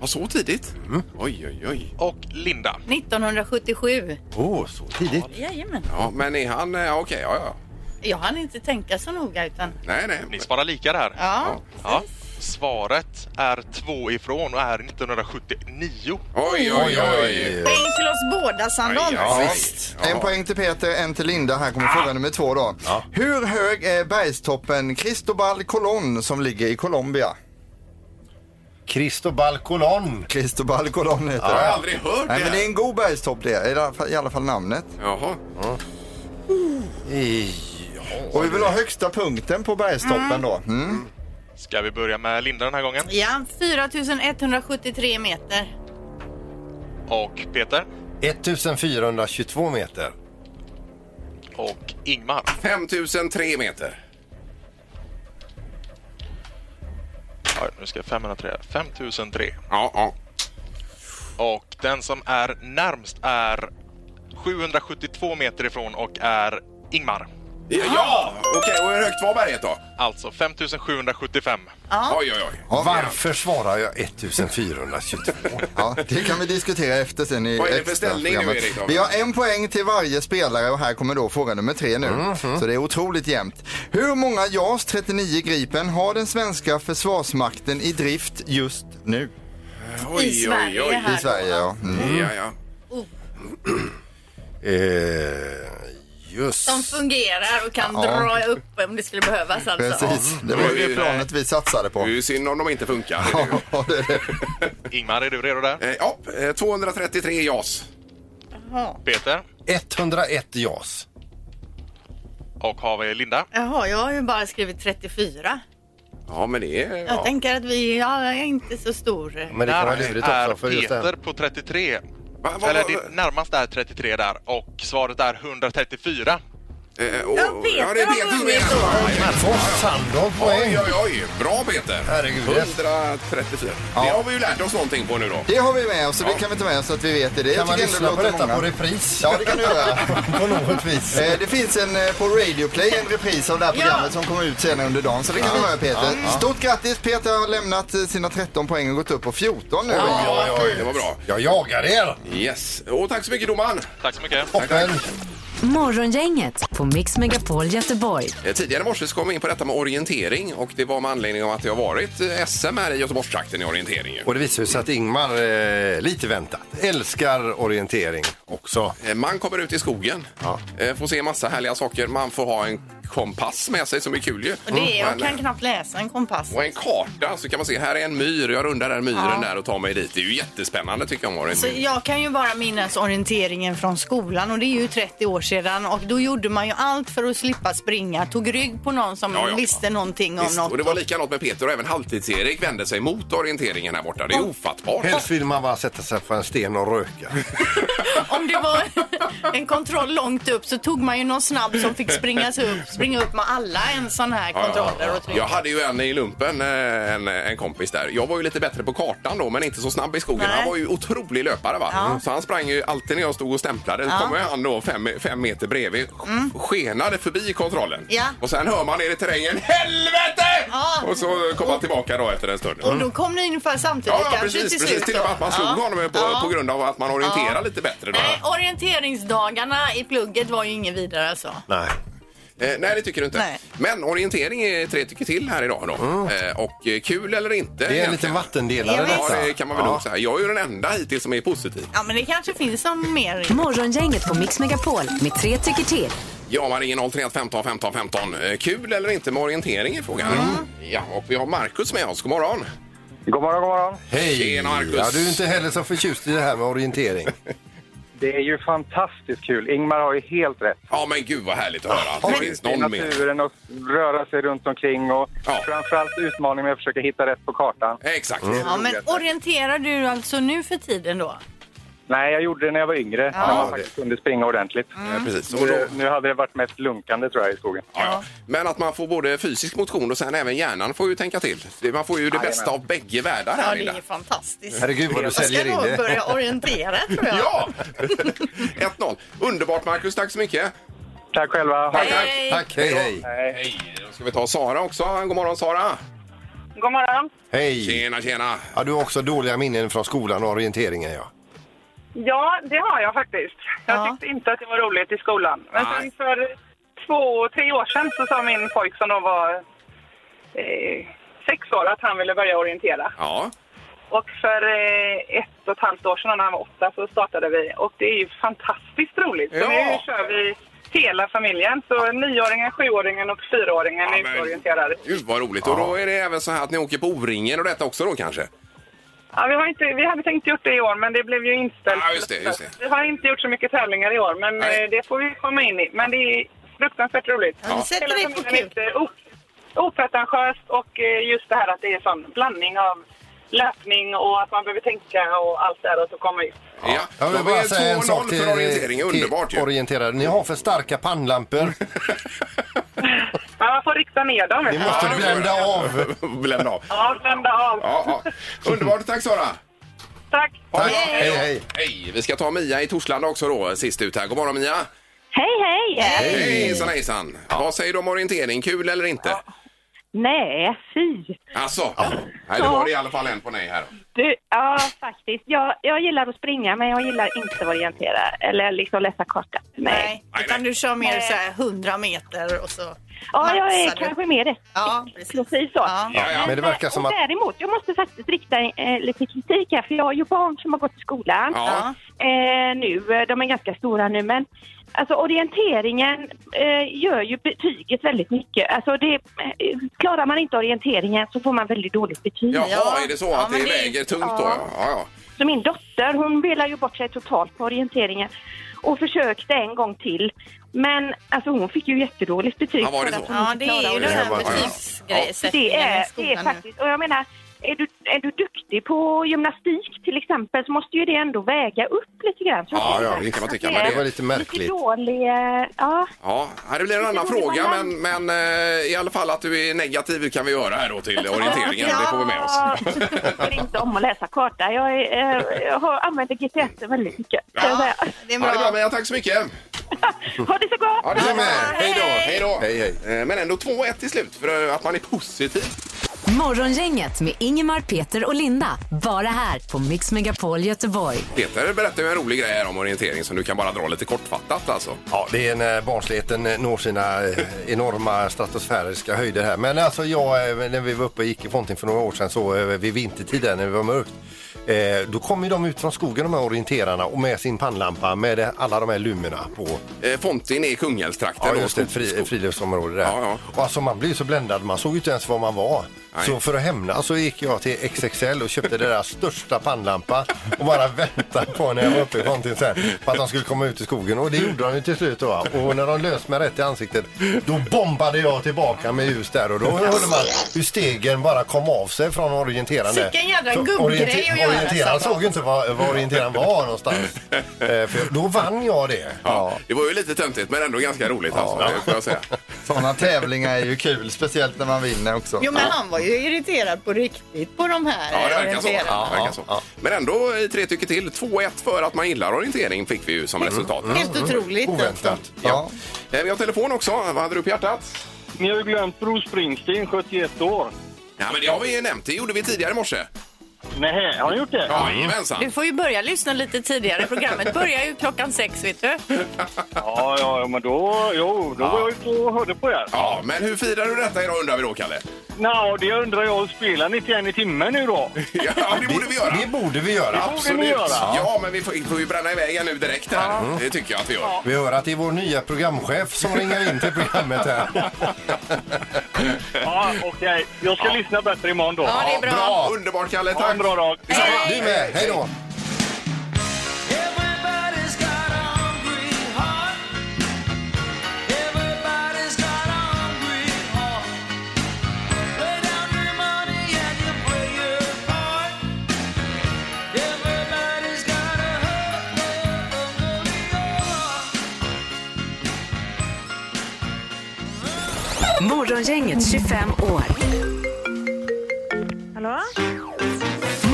[SPEAKER 2] Var så tidigt? Mm. Oj, oj, oj.
[SPEAKER 8] Och Linda.
[SPEAKER 3] 1977.
[SPEAKER 4] Åh, så tidigt.
[SPEAKER 3] Jajamän.
[SPEAKER 2] Ja, men är han... eh, Okej, ja, ja.
[SPEAKER 3] Jag hann inte tänka så noga utan...
[SPEAKER 2] Nej, nej.
[SPEAKER 8] Ni sparar lika där.
[SPEAKER 3] Ja.
[SPEAKER 8] Ja. Svaret är två ifrån och är 1979.
[SPEAKER 2] Oj, oj, oj.
[SPEAKER 4] Eh,
[SPEAKER 3] Poäng till oss båda, Sandholt.
[SPEAKER 2] Ja,
[SPEAKER 5] En poäng till Peter, en till Linda. Här kommer fråga nummer två då. Hur hög är bergstoppen Cristobal Colón som ligger i Colombia?
[SPEAKER 4] Cristobal Colón.
[SPEAKER 5] Cristobal Colón heter
[SPEAKER 2] Jag har
[SPEAKER 5] det.
[SPEAKER 2] aldrig hört
[SPEAKER 5] Nej,
[SPEAKER 2] det.
[SPEAKER 5] men det är en god bergstopp det, i alla fall, i alla fall namnet.
[SPEAKER 2] Jaha.
[SPEAKER 4] I...
[SPEAKER 5] Och vi vill ha högsta punkten på bergstoppen då. Mm.
[SPEAKER 8] Ska vi börja med Linda den här gången?
[SPEAKER 3] Ja, 4173 meter.
[SPEAKER 8] Och Peter?
[SPEAKER 4] 1422 meter.
[SPEAKER 8] Och Ingmar?
[SPEAKER 2] 5003 meter.
[SPEAKER 8] Ja, nu ska jag 503. 5003.
[SPEAKER 2] Ja, ja.
[SPEAKER 8] Och den som är närmst är 772 meter ifrån och är Ingmar.
[SPEAKER 2] Ja, ja. okej. och hur högt var berget då?
[SPEAKER 8] Alltså 5775.
[SPEAKER 2] Oj, oj, oj.
[SPEAKER 4] Varför svarar jag 1422?
[SPEAKER 5] Ja, det kan vi diskutera efter sen i
[SPEAKER 2] Vad är det för
[SPEAKER 5] extra
[SPEAKER 2] ställning nu,
[SPEAKER 5] programmet.
[SPEAKER 2] Erik, då?
[SPEAKER 5] Vi har en poäng till varje spelare och här kommer då fråga nummer tre nu.
[SPEAKER 2] Mhm.
[SPEAKER 5] Så det är otroligt jämnt. Hur många JAS 39 Gripen har den svenska försvarsmakten i drift just nu?
[SPEAKER 2] Oj, oj,
[SPEAKER 3] Sverige
[SPEAKER 2] oj.
[SPEAKER 3] här.
[SPEAKER 5] I Sverige ja. Mm.
[SPEAKER 2] Ja, ja.
[SPEAKER 4] eh, just
[SPEAKER 3] De fungerar och kan
[SPEAKER 5] Ja.
[SPEAKER 3] dra upp om det skulle behövas alltså.
[SPEAKER 5] Precis, det var ju det planet vi satsade
[SPEAKER 2] Det är
[SPEAKER 5] på.
[SPEAKER 2] ju synd om de inte funkar.
[SPEAKER 5] Ja, det är det.
[SPEAKER 8] Ingmar, är du redo där?
[SPEAKER 2] Eh, Ja, eh, 233 JAS.
[SPEAKER 3] Jaha.
[SPEAKER 8] Peter?
[SPEAKER 4] 101 JAS.
[SPEAKER 8] Och har vi Linda?
[SPEAKER 3] Jaha, jag har ju bara skrivit 34.
[SPEAKER 2] Ja, men det är...
[SPEAKER 3] Jag
[SPEAKER 2] Ja.
[SPEAKER 3] tänker att vi, ja, jag är inte så stor.
[SPEAKER 4] Men det kan
[SPEAKER 8] Där
[SPEAKER 4] vara lurigt
[SPEAKER 8] är
[SPEAKER 4] också för just
[SPEAKER 8] Peter
[SPEAKER 4] den.
[SPEAKER 8] på 33.
[SPEAKER 2] Va, va,
[SPEAKER 8] Eller
[SPEAKER 2] va, va?
[SPEAKER 8] det närmaste är 33 där och svaret är 134.
[SPEAKER 2] Eh, och-
[SPEAKER 3] Ja, Peter
[SPEAKER 2] ja, det är
[SPEAKER 3] har
[SPEAKER 2] Peter som
[SPEAKER 3] vunnit
[SPEAKER 2] är-
[SPEAKER 3] då.
[SPEAKER 4] Fors Sandholt poäng.
[SPEAKER 2] Oj, oj, oj. Bra, Peter.
[SPEAKER 4] Herregud.
[SPEAKER 2] 134. Det har vi ju lärt oss någonting på nu då.
[SPEAKER 5] Det har vi med oss och det kan vi ta med oss så att vi vet det. det.
[SPEAKER 4] Kan man
[SPEAKER 5] tycker ändå
[SPEAKER 4] lyssna på
[SPEAKER 5] låter
[SPEAKER 4] detta
[SPEAKER 5] många.
[SPEAKER 4] på repris?
[SPEAKER 5] Ja, det kan du göra.
[SPEAKER 4] (laughs) På något vis.
[SPEAKER 5] Eh, Det finns en eh, på Radio Play, en repris av det här programmet som kommer ut senare under dagen. Så det kan du höra Peter. Stort grattis! Peter har lämnat eh, sina 13 poäng och gått upp på 14 nu.
[SPEAKER 2] Ja, ja, det var bra.
[SPEAKER 4] Jag jagar er!
[SPEAKER 2] Yes. Och tack så mycket, domaren.
[SPEAKER 8] Tack så mycket.
[SPEAKER 4] Toppen!
[SPEAKER 1] Morgongänget på Mix Megapol Göteborg.
[SPEAKER 2] Eh, Tidigare i morse så kom vi in på detta med orientering och det var med anledning av att det har varit eh, SM här i Göteborgstrakten i orientering. ju.
[SPEAKER 4] Och det visar sig att Ingmar, eh, lite väntat, älskar orientering också.
[SPEAKER 2] Eh, Man kommer ut i skogen,
[SPEAKER 4] Ja.
[SPEAKER 2] eh, får se massa härliga saker. Man får ha en kompass med sig som är kul ju.
[SPEAKER 3] Och det, jag
[SPEAKER 2] Men, eh,
[SPEAKER 3] kan knappt läsa en kompass.
[SPEAKER 2] och en karta så kan man se, här är en myr, jag rundar den myren där och tar mig dit. Det är ju jättespännande tycker jag om
[SPEAKER 3] Så
[SPEAKER 2] orientering.
[SPEAKER 3] jag kan ju bara minnas orienteringen från skolan och det är ju 30 år sedan och då gjorde man ju allt för att slippa springa. Tog rygg på någon som
[SPEAKER 2] Ja, ja.
[SPEAKER 3] visste någonting om
[SPEAKER 2] Visst,
[SPEAKER 3] något.
[SPEAKER 2] och det var likadant med Peter och även Halvtids-Erik vände sig mot orienteringen här borta. Det är ofattbart.
[SPEAKER 4] Helst vill man bara sätta sig på en sten och röka.
[SPEAKER 3] Om det var en kontroll långt upp så tog man ju någon snabb som fick springas upp, springa upp med alla en sån här kontroller och tryck.
[SPEAKER 2] Jag hade ju en i lumpen, eh, en, en kompis där. Jag var ju lite bättre på kartan då, men inte så snabb i skogen.
[SPEAKER 3] Nej.
[SPEAKER 2] Han var ju otrolig löpare. Va?
[SPEAKER 3] Ja.
[SPEAKER 2] Så han sprang ju alltid när jag stod och stämplade. Då
[SPEAKER 3] Ja. Mm.
[SPEAKER 2] kommer han då fem, fem meter bredvid, sk- skenade förbi kontrollen.
[SPEAKER 3] Ja.
[SPEAKER 2] Och sen hör man ner i terrängen, helvete!
[SPEAKER 3] Ja.
[SPEAKER 2] Och så kom han tillbaka då efter en stund.
[SPEAKER 3] Och då kom ni ungefär samtidigt
[SPEAKER 2] Ja, ja
[SPEAKER 3] kanske
[SPEAKER 2] precis.
[SPEAKER 3] till
[SPEAKER 2] Till,
[SPEAKER 3] slut.
[SPEAKER 2] precis. till och med att man slog honom på, på grund av att man orienterar
[SPEAKER 3] Ja.
[SPEAKER 2] lite bättre. Då.
[SPEAKER 3] Nej, orienteringsdagarna i plugget var ju ingen vidare alltså.
[SPEAKER 4] Nej.
[SPEAKER 2] Eh, nej, det tycker du inte.
[SPEAKER 3] Nej.
[SPEAKER 2] Men orientering är tre tycker till här idag. Då. Eh, och eh, kul eller inte.
[SPEAKER 4] Det är en liten
[SPEAKER 2] egentligen.
[SPEAKER 4] vattendelare
[SPEAKER 3] Jag vet.
[SPEAKER 2] Ja,
[SPEAKER 4] detta.
[SPEAKER 2] det kan man väl lugnt säga. Jag är ju den enda hittills som är positiv.
[SPEAKER 3] Ja, men det kanske finns någon mer.
[SPEAKER 1] Morgongänget på Mix Megapol med tre tycker till.
[SPEAKER 2] Ja, man ringer 031 15 15 15. Eh, kul eller inte med orientering är frågan.
[SPEAKER 3] Mm.
[SPEAKER 2] Ja, och vi har Markus med oss. God morgon.
[SPEAKER 9] God morgon, god morgon.
[SPEAKER 4] Hej!
[SPEAKER 2] Tjena, Marcus.
[SPEAKER 4] Ja, du är inte heller så förtjust i det här med orientering.
[SPEAKER 9] Det är ju fantastiskt kul. Ingmar har ju helt rätt.
[SPEAKER 2] Ja, men gud vad härligt att höra. att Det finns
[SPEAKER 9] I
[SPEAKER 2] någon mer.
[SPEAKER 9] naturen och röra sig runt omkring och
[SPEAKER 2] Ja.
[SPEAKER 9] framförallt utmaningen med att försöka hitta rätt på kartan.
[SPEAKER 2] Exakt.
[SPEAKER 3] Mm. Ja, men orienterar du alltså nu för tiden då?
[SPEAKER 9] Nej, jag gjorde det när jag var yngre, när man
[SPEAKER 2] det-
[SPEAKER 9] faktiskt kunde springa ordentligt.
[SPEAKER 3] Mm.
[SPEAKER 2] Eh, Precis. Och då,
[SPEAKER 9] Nu, nu hade det varit mest lunkande tror jag i skogen.
[SPEAKER 2] ja, ja. Men att man får både fysisk motion och sen även hjärnan får ju tänka till. Det- Man får ju det bästa av bägge världar
[SPEAKER 3] Ja,
[SPEAKER 2] här
[SPEAKER 3] det
[SPEAKER 2] inne.
[SPEAKER 3] är fantastiskt.
[SPEAKER 4] Herregud vad du
[SPEAKER 3] Jag ska
[SPEAKER 4] säljer in
[SPEAKER 3] nog
[SPEAKER 4] det.
[SPEAKER 3] börja orientera
[SPEAKER 2] (laughs)
[SPEAKER 3] tror jag.
[SPEAKER 2] Ja! (laughs) 1-0. Underbart Marcus, tack så mycket.
[SPEAKER 9] Tack själva.
[SPEAKER 2] Tack, tack.
[SPEAKER 3] Hej.
[SPEAKER 4] Tack, hej hej.
[SPEAKER 9] Hej.
[SPEAKER 2] Hej, då ska vi ta Sara också. God morgon Sara!
[SPEAKER 6] God morgon.
[SPEAKER 4] Hej!
[SPEAKER 2] Tjena, tjena!
[SPEAKER 4] Ja, du har också dåliga minnen från skolan och orienteringen ja.
[SPEAKER 6] Ja, det har jag faktiskt. Jag
[SPEAKER 3] Ja.
[SPEAKER 6] tyckte inte att det var roligt i skolan. Men
[SPEAKER 2] Nej.
[SPEAKER 6] sen för två, tre år sedan så sa min pojk som då var eh, sex år att han ville börja orientera.
[SPEAKER 2] Ja,
[SPEAKER 6] Och för eh, ett och ett halvt år sedan när han var åtta så startade vi och det är ju fantastiskt roligt. Så
[SPEAKER 2] Ja.
[SPEAKER 6] nu kör vi hela familjen. Så nioåringen, sjuåringen och fyraåringen
[SPEAKER 2] Ja,
[SPEAKER 6] är ute
[SPEAKER 2] men-
[SPEAKER 6] och orienterar.
[SPEAKER 2] gud vad roligt. Och då är det även så här att ni åker på O-ringen och detta också då kanske?
[SPEAKER 6] Ja, vi, har inte, vi hade tänkt gjort det i år, men det blev ju inställt.
[SPEAKER 2] Ja, just det, just det.
[SPEAKER 6] Vi har inte gjort så mycket tävlingar i år, men
[SPEAKER 2] Nej.
[SPEAKER 6] eh, det får vi komma in i. Men det är fruktansvärt roligt.
[SPEAKER 3] Ja, vi sätter dig på
[SPEAKER 6] familjen
[SPEAKER 3] kul.
[SPEAKER 6] är ute, o- opretentiöst och eh, just det här att det är sån blandning av löpning och att man behöver tänka och allt det här och så komma ut.
[SPEAKER 2] Ja,
[SPEAKER 4] Jag vill
[SPEAKER 2] då är
[SPEAKER 4] bara
[SPEAKER 2] det
[SPEAKER 4] säga en
[SPEAKER 2] 2-0
[SPEAKER 4] sak till,
[SPEAKER 2] för orientering. Underbart
[SPEAKER 4] till
[SPEAKER 2] (laughs) ju.
[SPEAKER 4] orienterare. Ni har för starka
[SPEAKER 2] (laughs)
[SPEAKER 4] pannlampor.
[SPEAKER 6] Men man får rikta ner dem. vet
[SPEAKER 4] Ni
[SPEAKER 6] du.
[SPEAKER 4] måste
[SPEAKER 2] Ja, det
[SPEAKER 4] blända
[SPEAKER 2] får jag.
[SPEAKER 4] av.
[SPEAKER 2] (laughs) Blända av.
[SPEAKER 6] Ja, vända av.
[SPEAKER 2] Ja, ja. Underbart. Tack Sara!
[SPEAKER 6] Tack.
[SPEAKER 4] Tack, hej hej.
[SPEAKER 2] Hej! Vi ska ta Mia i Torslanda också då, sist ut här. God morgon Mia!
[SPEAKER 10] Hej, hej!
[SPEAKER 2] Hej! Hejsan hejsan! Vad säger du om orientering? Kul eller inte?
[SPEAKER 10] Nej, fy!
[SPEAKER 2] Alltså, nej, då var det i alla fall en på nej här.
[SPEAKER 10] Du, ja, faktiskt. Jag, jag gillar att springa, men jag gillar inte att orientera eller liksom läsa kartan. Nej.
[SPEAKER 3] Nej,
[SPEAKER 2] Nej,
[SPEAKER 3] utan
[SPEAKER 2] nej.
[SPEAKER 3] du kör mer
[SPEAKER 10] Nej.
[SPEAKER 3] så här 100 meter och så
[SPEAKER 10] Ja, jag är
[SPEAKER 3] maxar du.
[SPEAKER 10] kanske mer
[SPEAKER 3] Ja,
[SPEAKER 10] explosiv så.
[SPEAKER 3] Ja.
[SPEAKER 2] Ja, ja.
[SPEAKER 4] Men det verkar som
[SPEAKER 10] och
[SPEAKER 4] att-
[SPEAKER 10] däremot, jag måste faktiskt rikta eh, lite kritik här, för jag har ju barn som har gått i skolan
[SPEAKER 2] Ja.
[SPEAKER 10] eh, nu. Eh, De är ganska stora nu, men alltså orienteringen eh, gör ju betyget väldigt mycket. Alltså det, eh, klarar man inte orienteringen så får man väldigt dåligt betyg.
[SPEAKER 2] Jaha,
[SPEAKER 3] Ja.
[SPEAKER 2] är det så
[SPEAKER 3] Ja,
[SPEAKER 2] att det
[SPEAKER 3] men det-
[SPEAKER 2] väger tungt då? Ja, ja.
[SPEAKER 10] Så min dotter hon velar ju bort sig totalt på orienteringen och försökte en gång till. Men alltså hon fick ju jättedåligt betyg.
[SPEAKER 2] Ja, var det
[SPEAKER 10] för
[SPEAKER 2] så?
[SPEAKER 10] att hon
[SPEAKER 3] Ja,
[SPEAKER 10] inte
[SPEAKER 3] det är ju
[SPEAKER 10] klarade
[SPEAKER 3] den
[SPEAKER 4] det.
[SPEAKER 3] här
[SPEAKER 4] Ja, ja, ja.
[SPEAKER 2] Ja.
[SPEAKER 10] det.
[SPEAKER 3] betygssättningen
[SPEAKER 10] Det
[SPEAKER 3] i
[SPEAKER 10] är, det är
[SPEAKER 3] skolan nu.
[SPEAKER 10] faktiskt, och jag menar, är du, är du duktig på gymnastik till exempel så måste ju det ändå väga upp lite grann. tror
[SPEAKER 2] Ja,
[SPEAKER 10] jag.
[SPEAKER 2] ja, det kan man tycka,
[SPEAKER 10] Att
[SPEAKER 2] men
[SPEAKER 10] är
[SPEAKER 2] det
[SPEAKER 4] var lite märkligt.
[SPEAKER 10] Lite dålig, eh, ja.
[SPEAKER 2] Ja, här blir en annan
[SPEAKER 10] Det är dålig
[SPEAKER 2] fråga, men,
[SPEAKER 10] balans.
[SPEAKER 2] men eh, i alla fall att du är negativ kan vi göra här då till orienteringen. Det får vi (laughs) med oss.
[SPEAKER 10] Jag tycker inte om att läsa karta. Jag, är, eh, jag har- använder GPS väldigt mycket.
[SPEAKER 2] Ja.
[SPEAKER 10] Så jag säger,
[SPEAKER 3] Det är
[SPEAKER 2] Ja, det är bra,
[SPEAKER 3] bra.
[SPEAKER 2] Mia. Tack så mycket.
[SPEAKER 10] Ha det så gott!
[SPEAKER 2] Ja, det är
[SPEAKER 4] med.
[SPEAKER 2] Hej då. Hej då.
[SPEAKER 4] Hej, hej.
[SPEAKER 2] Eh, Men ändå 2-1 till slut för eh, att man är positiv.
[SPEAKER 1] Morgongänget med Ingemar, Peter och Linda. Bara här på Mix Megapol Göteborg.
[SPEAKER 2] Peter berättade ju en rolig grej här om orientering som du kan bara dra lite kortfattat alltså.
[SPEAKER 4] Ja, det är när barnsligheten når sina eh, enorma stratosfäriska höjder här. Men alltså jag, eh, när vi var uppe och gick i Fontin för några år sedan så eh, vid vintertiden när det var mörkt. Eh, då kom ju de ut från skogen de här orienterarna och med sin pannlampa med eh, alla de här lumerna på.
[SPEAKER 2] Eh, Fontin är i Kungälvstrakten.
[SPEAKER 4] Ja,
[SPEAKER 2] då.
[SPEAKER 4] just det, ett fri,
[SPEAKER 2] Skog-
[SPEAKER 4] friluftsområde där.
[SPEAKER 2] Ja, ja.
[SPEAKER 4] Och alltså man blev ju så bländad, man såg ju inte ens var man var.
[SPEAKER 2] Nej.
[SPEAKER 4] Så för att hämnas så gick jag till XXL och köpte deras största pannlampa och bara väntade på när jag var uppe i fronten sen på att de skulle komma ut i skogen. Och det gjorde de ju till slut då. va. Och när de lös mig rätt i ansiktet då bombade jag tillbaka med ljus
[SPEAKER 2] (laughs)
[SPEAKER 4] där och då hörde man hur stegen bara kom av sig från orienterande.
[SPEAKER 3] Sicken jädra
[SPEAKER 4] Så
[SPEAKER 3] gubbgrej
[SPEAKER 4] oriente-
[SPEAKER 3] att göra.
[SPEAKER 11] orienteraren såg ju inte var, var orienteraren var
[SPEAKER 2] (laughs)
[SPEAKER 11] någonstans. Eh, för då vann jag det.
[SPEAKER 2] Ja, det var ju lite töntigt men ändå ganska roligt alltså, det får jag säga.
[SPEAKER 5] Sådana tävlingar är ju kul, speciellt när man vinner också.
[SPEAKER 3] Jo, men han var ju irriterad på riktigt på de här
[SPEAKER 2] Ja, det verkar så.
[SPEAKER 3] orienterarna.
[SPEAKER 2] Ja, det verkar så. Men ändå i tre tycker till. 2-1 för att man gillar orientering fick vi ju
[SPEAKER 4] Mm,
[SPEAKER 2] som resultat.
[SPEAKER 3] Helt otroligt.
[SPEAKER 11] Oväntat.
[SPEAKER 5] Ja.
[SPEAKER 2] Eh, Vi har telefon också. Vad hade du på hjärtat?
[SPEAKER 9] Ni har ju glömt Bruce Springsteen, 71 år.
[SPEAKER 2] Ja, men det har vi ju nämnt. Det gjorde vi tidigare i morse.
[SPEAKER 9] Nej, har han gjort det?
[SPEAKER 3] Du
[SPEAKER 2] Jajamensan.
[SPEAKER 3] får ju börja lyssna lite tidigare. Programmet börjar ju klockan sex, vet du.
[SPEAKER 9] Ja, ja, ja, men då, jo, då var jag ute och hörde på er.
[SPEAKER 2] Ja, men hur firar du detta idag undrar vi då, (laughs) Kalle?
[SPEAKER 9] Nå, det undrar jag, spelar ni till en i timmen nu
[SPEAKER 2] (laughs)
[SPEAKER 9] då?
[SPEAKER 2] Ja, det borde vi göra.
[SPEAKER 11] Det borde vi göra.
[SPEAKER 9] borde ni göra.
[SPEAKER 2] Ja, men vi får, får ju bränna iväg här nu direkt här. Det tycker jag att vi gör.
[SPEAKER 11] Vi hör att det är vår nya programchef som ringer in till programmet här.
[SPEAKER 9] Ja, okej. Jag ska lyssna bättre imorgon då.
[SPEAKER 3] Ja, det är bra.
[SPEAKER 2] Ja, underbart, Kalle.
[SPEAKER 9] Ha
[SPEAKER 2] Tack.
[SPEAKER 9] en bra dag.
[SPEAKER 11] Du med, hej då!
[SPEAKER 7] Morgongänget 25 år.
[SPEAKER 1] Hallå?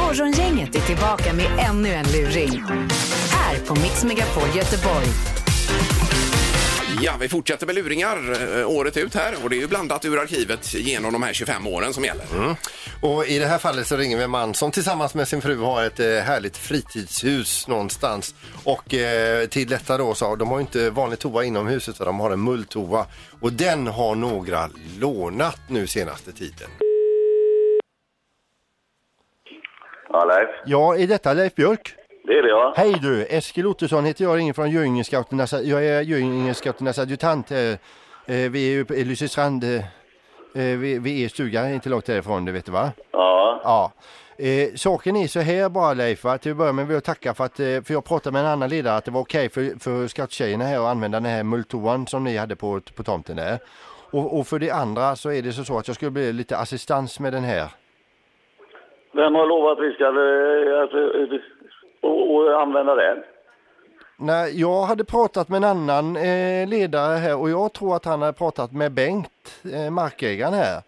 [SPEAKER 7] Morgongänget är tillbaka med ännu en luring. Här på Mix Megapol Göteborg.
[SPEAKER 2] Ja, vi fortsätter med luringar eh, året ut här och det är ju blandat ur arkivet genom de här 25 åren som gäller.
[SPEAKER 11] Och I det här fallet så ringer vi en man som tillsammans med sin fru har ett eh, härligt fritidshus någonstans. Och eh, till detta då så har de har ju inte vanlig toa inom huset utan de har en mulltoa. Och den har några lånat nu senaste tiden.
[SPEAKER 9] Ja, Leif.
[SPEAKER 4] Ja, är detta Leif Björk?
[SPEAKER 9] Det är det, ja.
[SPEAKER 4] Hej du, Eskil Ottosson heter jag, ringer från Göingescouternas, jag är Göingescouternas adjutant. eh, eh, Vi är ju på- i Lysestrand, eh, eh, vi vi är stugan inte långt därifrån, det vet du va?
[SPEAKER 9] Ja.
[SPEAKER 4] Ja. Eh, saken är så här bara Leif, va? till att börja med vill jag tacka för att, eh, för jag pratade med en annan ledare att det var okej för, för scouttjejerna här att använda den här mulltoan som ni hade på, på tomten där. Och, och för det andra så är det så, så att jag skulle bli lite assistans med den här.
[SPEAKER 9] Vem har lovat att vi ska eh, att, eh, och, och använda den?
[SPEAKER 4] Nej, jag hade pratat med en annan eh, ledare här och jag tror att han hade pratat med Bengt, eh, markägaren här.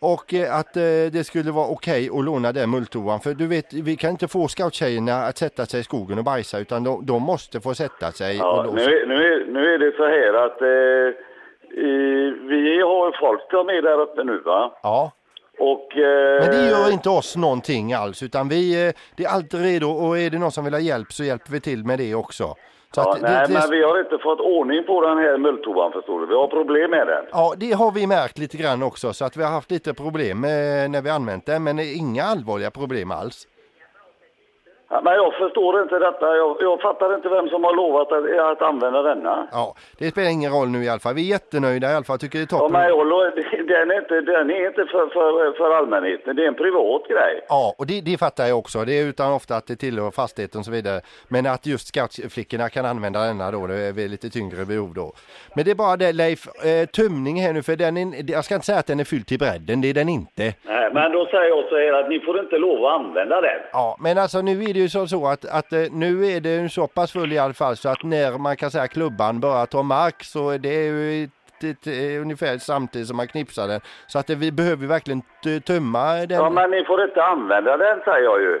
[SPEAKER 4] Och eh, att eh, det skulle vara okej att låna den mulltoan. För du vet, vi kan inte få scouttjejerna att sätta sig i skogen och bajsa utan de, de måste få sätta sig.
[SPEAKER 9] Ja,
[SPEAKER 4] och
[SPEAKER 9] nu, är- nu, är, nu är det så här att eh, eh, vi har folk som är där uppe nu, va?
[SPEAKER 4] ja.
[SPEAKER 9] Och... Eh,
[SPEAKER 4] Men det gör inte oss någonting alls utan vi eh, det är alltid redo och är det någon som vill ha hjälp så hjälper vi till med det också. Så
[SPEAKER 9] Ja,
[SPEAKER 4] att det-
[SPEAKER 9] nej,
[SPEAKER 4] det-
[SPEAKER 9] men vi har inte fått ordning på den här mulltoan, förstår du. Vi har problem med den.
[SPEAKER 4] Ja, det har vi märkt lite grann också så att vi har haft lite problem eh, när vi använt den men inga allvarliga problem alls.
[SPEAKER 9] Ja, Men jag förstår inte detta. Jag, jag fattar inte vem som har lovat att, att använda denna.
[SPEAKER 4] Ja, det spelar ingen roll nu i alla fall. Vi är jättenöjda i alla fall, tycker det är
[SPEAKER 9] Ja,
[SPEAKER 4] toppen.
[SPEAKER 9] men jag, lo- den är inte, den är inte för, för, för allmänheten. Det är en privat grej.
[SPEAKER 4] Ja, och det, det fattar jag också. Det är utan ofta att det tillhör fastigheten och så vidare. Men att just scoutflickorna kan använda denna då, det är väl lite tyngre behov då. Men det är bara det Leif, eh, tömning här nu för den är, jag ska inte säga att den är fylld till bredden, det är den inte.
[SPEAKER 9] Nej, men då säger jag så här att ni får inte lov att använda den.
[SPEAKER 4] Ja, men alltså nu är det ju så, så att, att eh, nu är det ju så pass full i alla fall så att när man kan säga klubban börjar ta mark så är det ju ett, ett, eh, ungefär samtidigt som man knipsar den. Så att eh, vi behöver ju verkligen t- tömma den.
[SPEAKER 9] Ja, men ni får inte använda den, säger jag ju.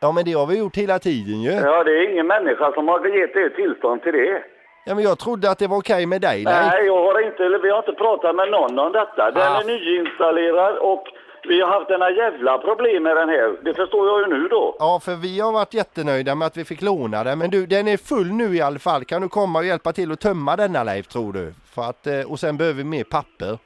[SPEAKER 4] det har vi gjort hela tiden ju. Ja,
[SPEAKER 9] Ja, det är ingen människa som har gett er tillstånd till det.
[SPEAKER 4] men jag trodde att det var okej med dig.
[SPEAKER 9] Nej,
[SPEAKER 4] Nej.
[SPEAKER 9] jag har inte, eller vi har inte pratat med någon om detta. Den
[SPEAKER 4] Ah.
[SPEAKER 9] är nyinstallerad och vi har haft denna jävla problem med den här. Det förstår jag ju nu då.
[SPEAKER 4] Ja, för vi har varit jättenöjda med att vi fick låna den. Men du, den är full nu i alla fall. Kan du komma och hjälpa till att tömma denna Leif, tror du? För att, eh, och sen behöver vi mer papper.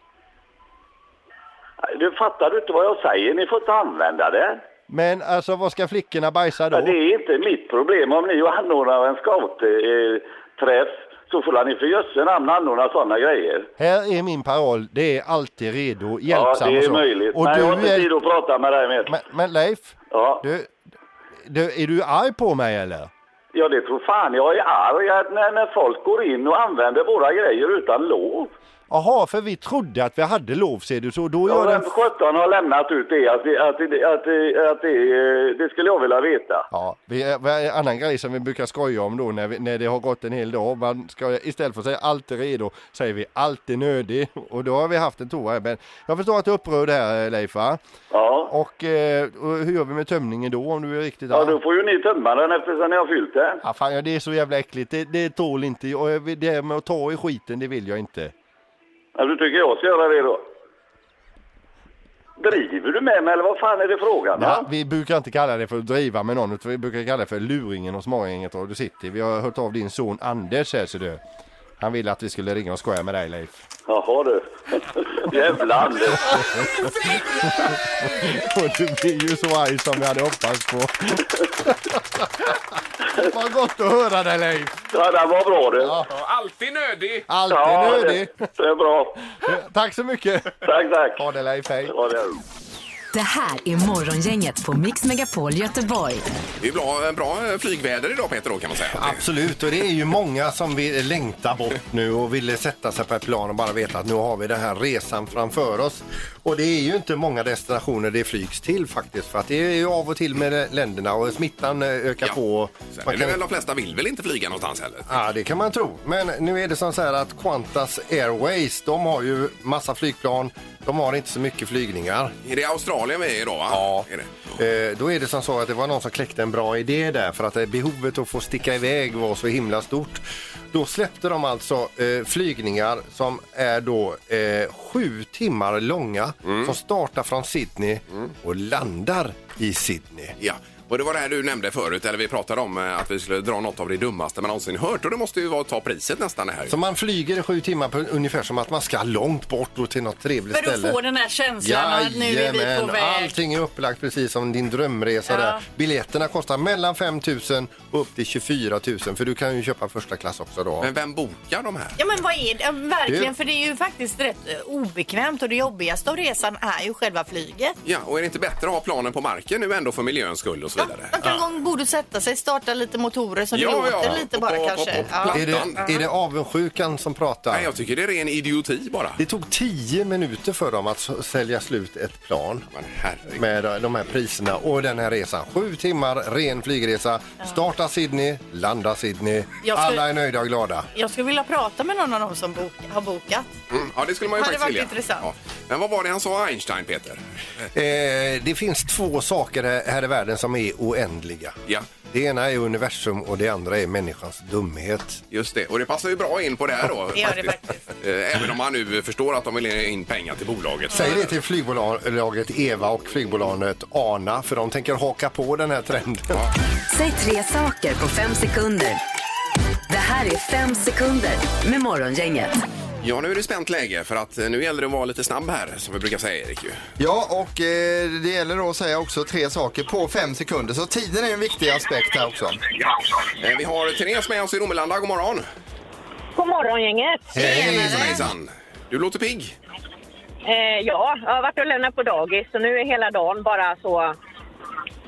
[SPEAKER 9] Du fattar du inte vad jag säger? Ni får inte använda den.
[SPEAKER 4] Men alltså, vad ska flickorna bajsa då?
[SPEAKER 9] Ja, Det är inte mitt problem. Om ni anordnar en scoutträff så får ni för jösse namn anordna sådana grejer.
[SPEAKER 4] Här är min paroll, det är alltid redo,
[SPEAKER 9] Ja,
[SPEAKER 4] hjälpsam
[SPEAKER 9] det
[SPEAKER 4] och
[SPEAKER 9] är
[SPEAKER 4] så.
[SPEAKER 9] möjligt.
[SPEAKER 4] Och
[SPEAKER 9] Men jag har
[SPEAKER 4] du
[SPEAKER 9] inte tid
[SPEAKER 4] är...
[SPEAKER 9] att prata med dig mer.
[SPEAKER 4] men, men Leif,
[SPEAKER 9] Ja.
[SPEAKER 4] du, du, är du arg på mig eller?
[SPEAKER 9] ja, det tror fan jag är arg att när, när folk går in och använder våra grejer utan lov.
[SPEAKER 12] Jaha, för vi trodde att vi hade lov ser du, så då gör
[SPEAKER 9] Ja,
[SPEAKER 12] den...
[SPEAKER 9] vem 17 har lämnat ut det? Att, det- att, det- att, det- att det, eh, det skulle jag vilja veta.
[SPEAKER 12] Ja, vi, en annan grej som vi brukar skoja om då när, vi, när det har gått en hel dag. Man ska, istället för att säga alltid redo säger vi alltid nödig. Och då har vi haft en toa här. Men jag förstår att du är upprörd här Leif va?
[SPEAKER 9] Ja.
[SPEAKER 12] Och, eh, och hur gör vi med tömningen då om du är riktigt
[SPEAKER 9] Ja,
[SPEAKER 12] arg?
[SPEAKER 9] då får ju ni tömma den eftersom ni har fyllt den.
[SPEAKER 12] Ja, fan, ja, det är så jävla äckligt. Det, det tål inte jag. Och jag vill- Det här med att ta i skiten, det vill jag inte.
[SPEAKER 9] Ja, du tycker jag ska göra det då? Driver du med mig eller vad fan är det frågan om?
[SPEAKER 12] Ja, vi brukar inte kalla det för att driva med någon, utan vi brukar kalla det för luringen och smågänget Radio City. Vi har hört av din son Anders här ser du. Han ville att vi skulle ringa och skoja med dig Leif. (laughs)
[SPEAKER 9] Jaha du. (laughs) Jävla Anders.
[SPEAKER 12] Och du blir ju så arg som vi hade hoppats på. (laughs) Vad gott att höra dig Leif!
[SPEAKER 9] Ja, den var bra du.
[SPEAKER 2] Alltid nödig!
[SPEAKER 12] Alltid
[SPEAKER 9] Ja, det-
[SPEAKER 12] nödig!
[SPEAKER 9] Det är bra.
[SPEAKER 12] Tack så mycket!
[SPEAKER 9] Tack, tack.
[SPEAKER 12] Ha det Leif, hej!
[SPEAKER 9] Ha det.
[SPEAKER 1] Det här är Morgongänget på Mix Megapol Göteborg.
[SPEAKER 2] Det är bra, eh, bra flygväder idag Peter då kan man säga.
[SPEAKER 4] Absolut, och det är ju många som vill längta bort nu och ville sätta sig på ett plan och bara veta att nu har vi den här resan framför oss. Och det är ju inte många destinationer det flygs till faktiskt för att det är ju av och till med länderna och smittan eh, ökar på.
[SPEAKER 2] Sen
[SPEAKER 4] Man
[SPEAKER 2] är det
[SPEAKER 4] kan-
[SPEAKER 2] väl de flesta vill väl inte flyga någonstans heller?
[SPEAKER 4] Ja, det kan man tro. Men nu är det som så här att Qantas Airways, de har ju massa flygplan. De har inte så mycket flygningar.
[SPEAKER 2] Är det Australien vi är idag va? Ja. Är det?
[SPEAKER 4] Eh, Då är det som så att det var någon som kläckte en bra idé där för att eh, behovet att få sticka iväg var så himla stort. Då släppte de alltså eh, flygningar som är då eh, sju timmar långa som startar från Sydney och landar i Sydney.
[SPEAKER 2] Ja. Och det var det här du nämnde förut, eller vi pratade om eh, att vi skulle dra något av det dummaste man någonsin hört. Och det måste ju vara att ta priset nästan det här.
[SPEAKER 4] Så man flyger i sju timmar på ungefär som att man ska långt bort och till något trevligt
[SPEAKER 3] För
[SPEAKER 4] ställe.
[SPEAKER 3] att få den här känslan av att nu är vi på
[SPEAKER 4] Jajamän,
[SPEAKER 3] väg.
[SPEAKER 4] Allting är upplagt precis som din drömresa.
[SPEAKER 3] Ja.
[SPEAKER 4] Där. Biljetterna kostar mellan 5 000 och upp till 24 000 för du kan ju köpa första klass också då.
[SPEAKER 2] Men vem bokar de här?
[SPEAKER 3] Ja men vad är det? Ja, Verkligen,
[SPEAKER 4] Du-
[SPEAKER 3] för det är ju faktiskt rätt eh, obekvämt och det jobbigaste av resan är ju själva flyget.
[SPEAKER 2] Ja, och är det inte bättre att ha planen på marken nu ändå för miljöns skull och så vidare?
[SPEAKER 3] Man kan gå ombord och sätta sig, starta lite motorer så det
[SPEAKER 2] Ja,
[SPEAKER 3] låter
[SPEAKER 2] ja.
[SPEAKER 3] lite
[SPEAKER 2] Och
[SPEAKER 3] bara
[SPEAKER 2] på- på-
[SPEAKER 3] kanske.
[SPEAKER 2] på
[SPEAKER 3] Ja.
[SPEAKER 4] Är det, är det avundsjukan som pratar?
[SPEAKER 2] Nej, jag tycker det är ren idioti bara.
[SPEAKER 4] Det tog 10 minuter för dem att s- sälja slut ett plan med eh, de här priserna och den här resan. Sju timmar ren flygresa. Starta Sydney, landa Sydney.
[SPEAKER 3] Jag skulle-
[SPEAKER 4] Alla är nöjda och glada.
[SPEAKER 3] Jag skulle vilja prata med någon av dem som bok- har bokat.
[SPEAKER 2] Mm, ja, det skulle man ju
[SPEAKER 3] Hade
[SPEAKER 2] faktiskt
[SPEAKER 3] varit
[SPEAKER 2] vilja.
[SPEAKER 3] intressant.
[SPEAKER 2] Ja. Men vad var det han sa, Einstein, Peter?
[SPEAKER 4] Eh, det finns två saker här, här i världen som är oändliga.
[SPEAKER 2] Ja.
[SPEAKER 4] Det ena är universum och det andra är människans dumhet.
[SPEAKER 2] Just det, och det passar ju bra in på det här då.
[SPEAKER 4] Det gör
[SPEAKER 3] det
[SPEAKER 2] Eh, Även om man nu förstår att de vill in pengar till bolaget.
[SPEAKER 4] Säg det till flygbolaget Eva och flygbolaget Arna för de tänker haka på den här trenden.
[SPEAKER 1] Säg tre saker på fem sekunder. Det här är fem sekunder med Morgongänget.
[SPEAKER 2] Ja, nu är det spänt läge för att eh, nu gäller det att vara lite snabb här, som vi brukar säga, Erik. Ju.
[SPEAKER 5] Ja, och eh, det gäller då att säga också tre saker på fem sekunder. Så tiden är en viktig aspekt här också.
[SPEAKER 2] Eh, Vi har Therese med oss i Romelanda. God morgon!
[SPEAKER 13] God morgon gänget!
[SPEAKER 2] Hejsan, hejsan! Du låter pigg.
[SPEAKER 13] Eh, ja, jag har varit och lämnat på dagis så nu är hela dagen bara så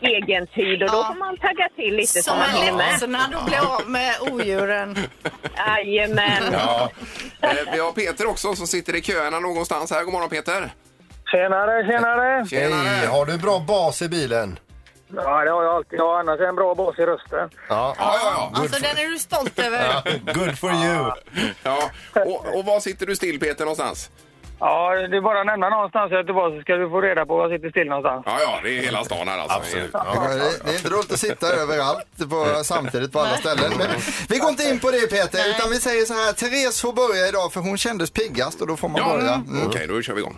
[SPEAKER 13] egen tid och då får man tagga till lite så
[SPEAKER 3] Som
[SPEAKER 13] man
[SPEAKER 3] en
[SPEAKER 13] hinner med.
[SPEAKER 3] ledsnad och bli av med
[SPEAKER 5] (laughs)
[SPEAKER 3] odjuren.
[SPEAKER 13] Jajamän!
[SPEAKER 2] Ja. Eh, Vi har Peter också som sitter i köerna någonstans här. God morgon Peter! Eh,
[SPEAKER 11] Tjenare, tjenare!
[SPEAKER 4] Hej, har du bra bas i bilen?
[SPEAKER 11] Ja, det har jag alltid. Jag har annars en bra bas i rösten.
[SPEAKER 4] Ja,
[SPEAKER 3] Alltså den är du stolt över.
[SPEAKER 4] Good for you!
[SPEAKER 2] Ja. Och, och var sitter du still Peter någonstans?
[SPEAKER 11] Ja, det är bara att nämna någonstans i Göteborg så ska du få reda på var jag sitter still någonstans.
[SPEAKER 2] Ja, ja, det är hela stan här alltså. Absolut.
[SPEAKER 5] Ja, det, det är inte roligt att sitta överallt på, samtidigt på alla (laughs) ställen. Men vi går inte in på det Peter, utan vi säger så här. Therese får börja idag för hon kändes piggast och då får man börja. Mm.
[SPEAKER 2] Okej, då kör vi igång.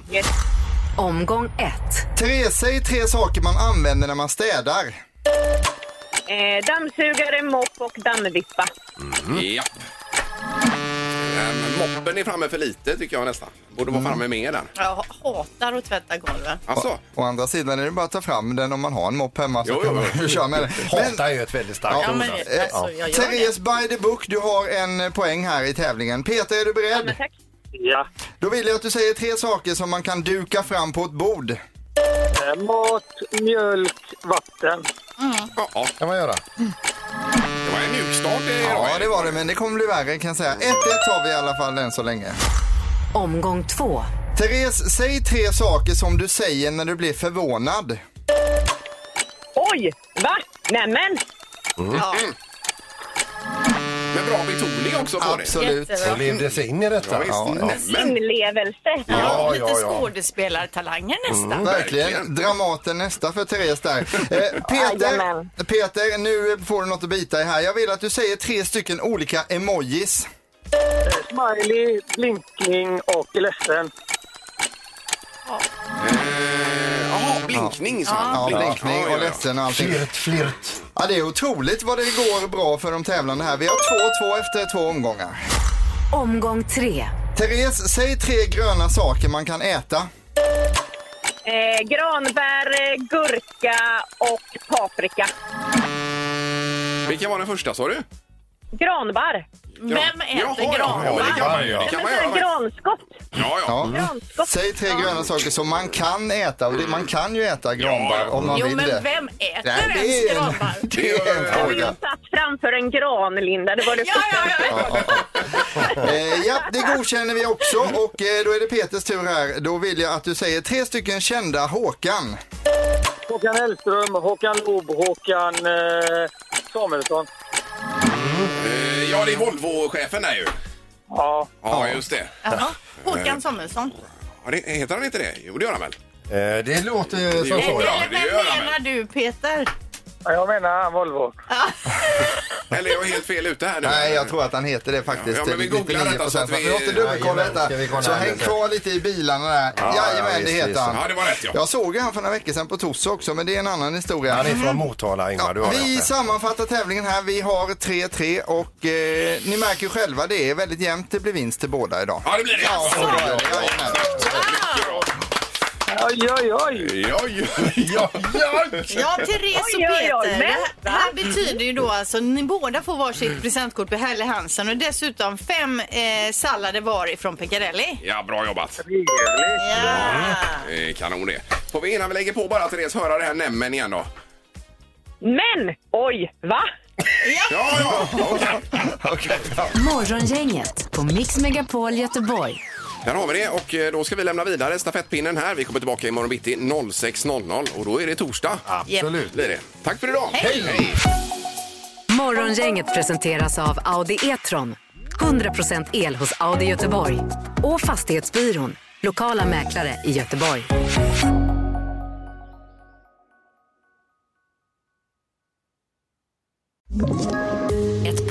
[SPEAKER 1] Omgång ett.
[SPEAKER 5] Therese, säg tre saker man använder när man städar.
[SPEAKER 13] Eh, dammsugare, mopp och dammvippa.
[SPEAKER 2] Ja. Eh, Moppen är framme för lite tycker jag nästan. Borde vara framme mer där.
[SPEAKER 3] Jag hatar att tvätta golven.
[SPEAKER 2] Alltså.
[SPEAKER 5] Å andra sidan är det bara att ta fram den om man har en mopp hemma. Så kan man köra med den.
[SPEAKER 4] Hata är ju ett väldigt starkt
[SPEAKER 5] Ja,
[SPEAKER 4] ord.
[SPEAKER 5] men-
[SPEAKER 4] alltså.
[SPEAKER 5] eh,
[SPEAKER 4] Ja.
[SPEAKER 13] jag gör
[SPEAKER 5] Therese, by the book, du har en eh, poäng här i tävlingen. Peter, är du beredd? Ja,
[SPEAKER 13] tack.
[SPEAKER 11] Ja.
[SPEAKER 5] Då vill jag att du säger tre saker som man kan duka fram på ett bord.
[SPEAKER 11] Eh, Mat, mjölk, vatten.
[SPEAKER 2] Ja,
[SPEAKER 4] kan man göra.
[SPEAKER 2] Det var en mjuk start.
[SPEAKER 5] Ja, det var det, men det kommer bli värre kan jag säga. 1-1 har vi i alla fall än så länge.
[SPEAKER 1] Omgång två.
[SPEAKER 5] Therese, säg tre saker som du säger när du blir förvånad.
[SPEAKER 13] Oj! Va? Nämen!
[SPEAKER 5] Ja.
[SPEAKER 2] Men bra betoning också på
[SPEAKER 4] Absolut.
[SPEAKER 2] det.
[SPEAKER 4] Hon levde sig in i detta.
[SPEAKER 2] Ja, visst.
[SPEAKER 13] Inlevelse.
[SPEAKER 5] Ja,
[SPEAKER 3] Lite
[SPEAKER 5] ja, ja. Mm.
[SPEAKER 3] skådespelartalanger nästan.
[SPEAKER 5] verkligen. Dramaten nästa för Therese där. (laughs) Eh, Peter, Peter, nu får du något att bita i här. Jag vill att du säger tre stycken olika emojis.
[SPEAKER 11] Smiley, blinkning och ledsen.
[SPEAKER 2] Jaha, blinkning sa han.
[SPEAKER 5] Ja,
[SPEAKER 2] Blink.
[SPEAKER 5] blinkning och ledsen och allting.
[SPEAKER 12] Flirt, flirt.
[SPEAKER 5] Ja, det är otroligt vad det går bra för de tävlande här. Vi har 2-2 efter två omgångar.
[SPEAKER 1] Omgång tre.
[SPEAKER 5] Therese, säg tre gröna saker man kan äta.
[SPEAKER 13] Eh, granbär, eh, gurka och paprika.
[SPEAKER 2] Vilken var den första sa du?
[SPEAKER 13] Granbar.
[SPEAKER 3] Vem äter
[SPEAKER 2] Jaha, ja, ja, men det kan man ju.
[SPEAKER 5] Ja,
[SPEAKER 2] Det
[SPEAKER 5] men
[SPEAKER 2] kan man
[SPEAKER 13] så här
[SPEAKER 2] göra.
[SPEAKER 13] Granskott.
[SPEAKER 2] Ja, ja.
[SPEAKER 5] Ja. Säg tre gröna saker som man kan äta. Och det, man kan ju äta granbar om man
[SPEAKER 3] Jo,
[SPEAKER 5] vill
[SPEAKER 3] men
[SPEAKER 5] det.
[SPEAKER 3] vem äter
[SPEAKER 5] Nej, det
[SPEAKER 3] ens
[SPEAKER 5] är en-
[SPEAKER 3] granbar?
[SPEAKER 5] (laughs) Det är en fråga.
[SPEAKER 13] Satt framför en gran, Linda. Det var det
[SPEAKER 3] Ja, ja,
[SPEAKER 5] (laughs)
[SPEAKER 3] ja.
[SPEAKER 5] Eh, ja, det godkänner vi också. Och eh, då är det Peters tur här. Då vill jag att du säger tre stycken kända Håkan.
[SPEAKER 11] Håkan Hellström, Håkan Loob, Håkan eh, Samuelsson.
[SPEAKER 2] Eh, Ja, det är Volvo-chefen där ju.
[SPEAKER 11] Ja.
[SPEAKER 2] Ja, just det.
[SPEAKER 3] Jaha. Håkan Samuelsson.
[SPEAKER 2] Ja, det- Heter han inte det? Jo, det gör han väl?
[SPEAKER 4] Eh, Det låter
[SPEAKER 2] Det
[SPEAKER 4] som
[SPEAKER 2] gör
[SPEAKER 4] så.
[SPEAKER 2] bra.
[SPEAKER 4] Ja.
[SPEAKER 3] Eller
[SPEAKER 2] det
[SPEAKER 3] vem
[SPEAKER 2] gör han
[SPEAKER 3] menar du Peter?
[SPEAKER 11] Ja, Jag menar han Volvo.
[SPEAKER 2] Eller är jag helt fel ute här nu?
[SPEAKER 5] Nej, jag tror att han heter det faktiskt.
[SPEAKER 2] Ja, men vi googlar detta så att
[SPEAKER 5] 99%.
[SPEAKER 2] vi-
[SPEAKER 5] Vi måste dubbelkolla
[SPEAKER 4] Jajamän, ska vi kolla
[SPEAKER 5] detta. Så
[SPEAKER 4] här
[SPEAKER 5] häng
[SPEAKER 4] lite?
[SPEAKER 5] kvar lite i bilarna där.
[SPEAKER 4] Ja,
[SPEAKER 5] Jajamän,
[SPEAKER 4] ja,
[SPEAKER 5] det
[SPEAKER 4] visst,
[SPEAKER 5] heter
[SPEAKER 4] visst.
[SPEAKER 5] han.
[SPEAKER 2] Ja, det var rätt ja.
[SPEAKER 5] Jag såg ju han för några veckor sedan på Torså också, men det är en annan historia.
[SPEAKER 4] Han är från Motala, Ingvar. Du har rätt
[SPEAKER 5] Vi
[SPEAKER 4] där.
[SPEAKER 5] sammanfattar tävlingen här. Vi har 3-3 och eh, ni märker ju själva, det är väldigt jämnt. Det blir vinst till båda idag.
[SPEAKER 2] Ja, det blir det.
[SPEAKER 5] Ja, så blir det. Jajamän.
[SPEAKER 11] Oj, oj, oj.
[SPEAKER 2] Ja, ja, ja, ja.
[SPEAKER 3] Ja, Therese och
[SPEAKER 13] Oj, oj, oj,
[SPEAKER 3] Peter. Det här, det
[SPEAKER 13] vänta.
[SPEAKER 3] här betyder ju då alltså ni båda får varsitt presentkort på Helle Hansen och dessutom fem eh, sallader var ifrån Piccadilly.
[SPEAKER 2] Ja, bra jobbat.
[SPEAKER 11] Trevligt.
[SPEAKER 3] Ja.
[SPEAKER 2] Eh, Kanon det. Får vi innan vi lägger på bara Therese höra det här nämmen igen då?
[SPEAKER 13] Men! Oj, va?
[SPEAKER 2] Ja, ja, okej.
[SPEAKER 1] Morgongänget på Mix Megapol Göteborg.
[SPEAKER 2] Där har vi det och eh, då ska vi lämna vidare stafettpinnen här. Vi kommer tillbaka imorgon bitti 06.00 och då är det torsdag.
[SPEAKER 4] Absolut.
[SPEAKER 2] Blir det. Tack för idag. Hej!
[SPEAKER 1] Morgongänget presenteras av Audi E-tron. 100% el hos Audi Göteborg. Och Fastighetsbyrån. Lokala mäklare i Göteborg. Ett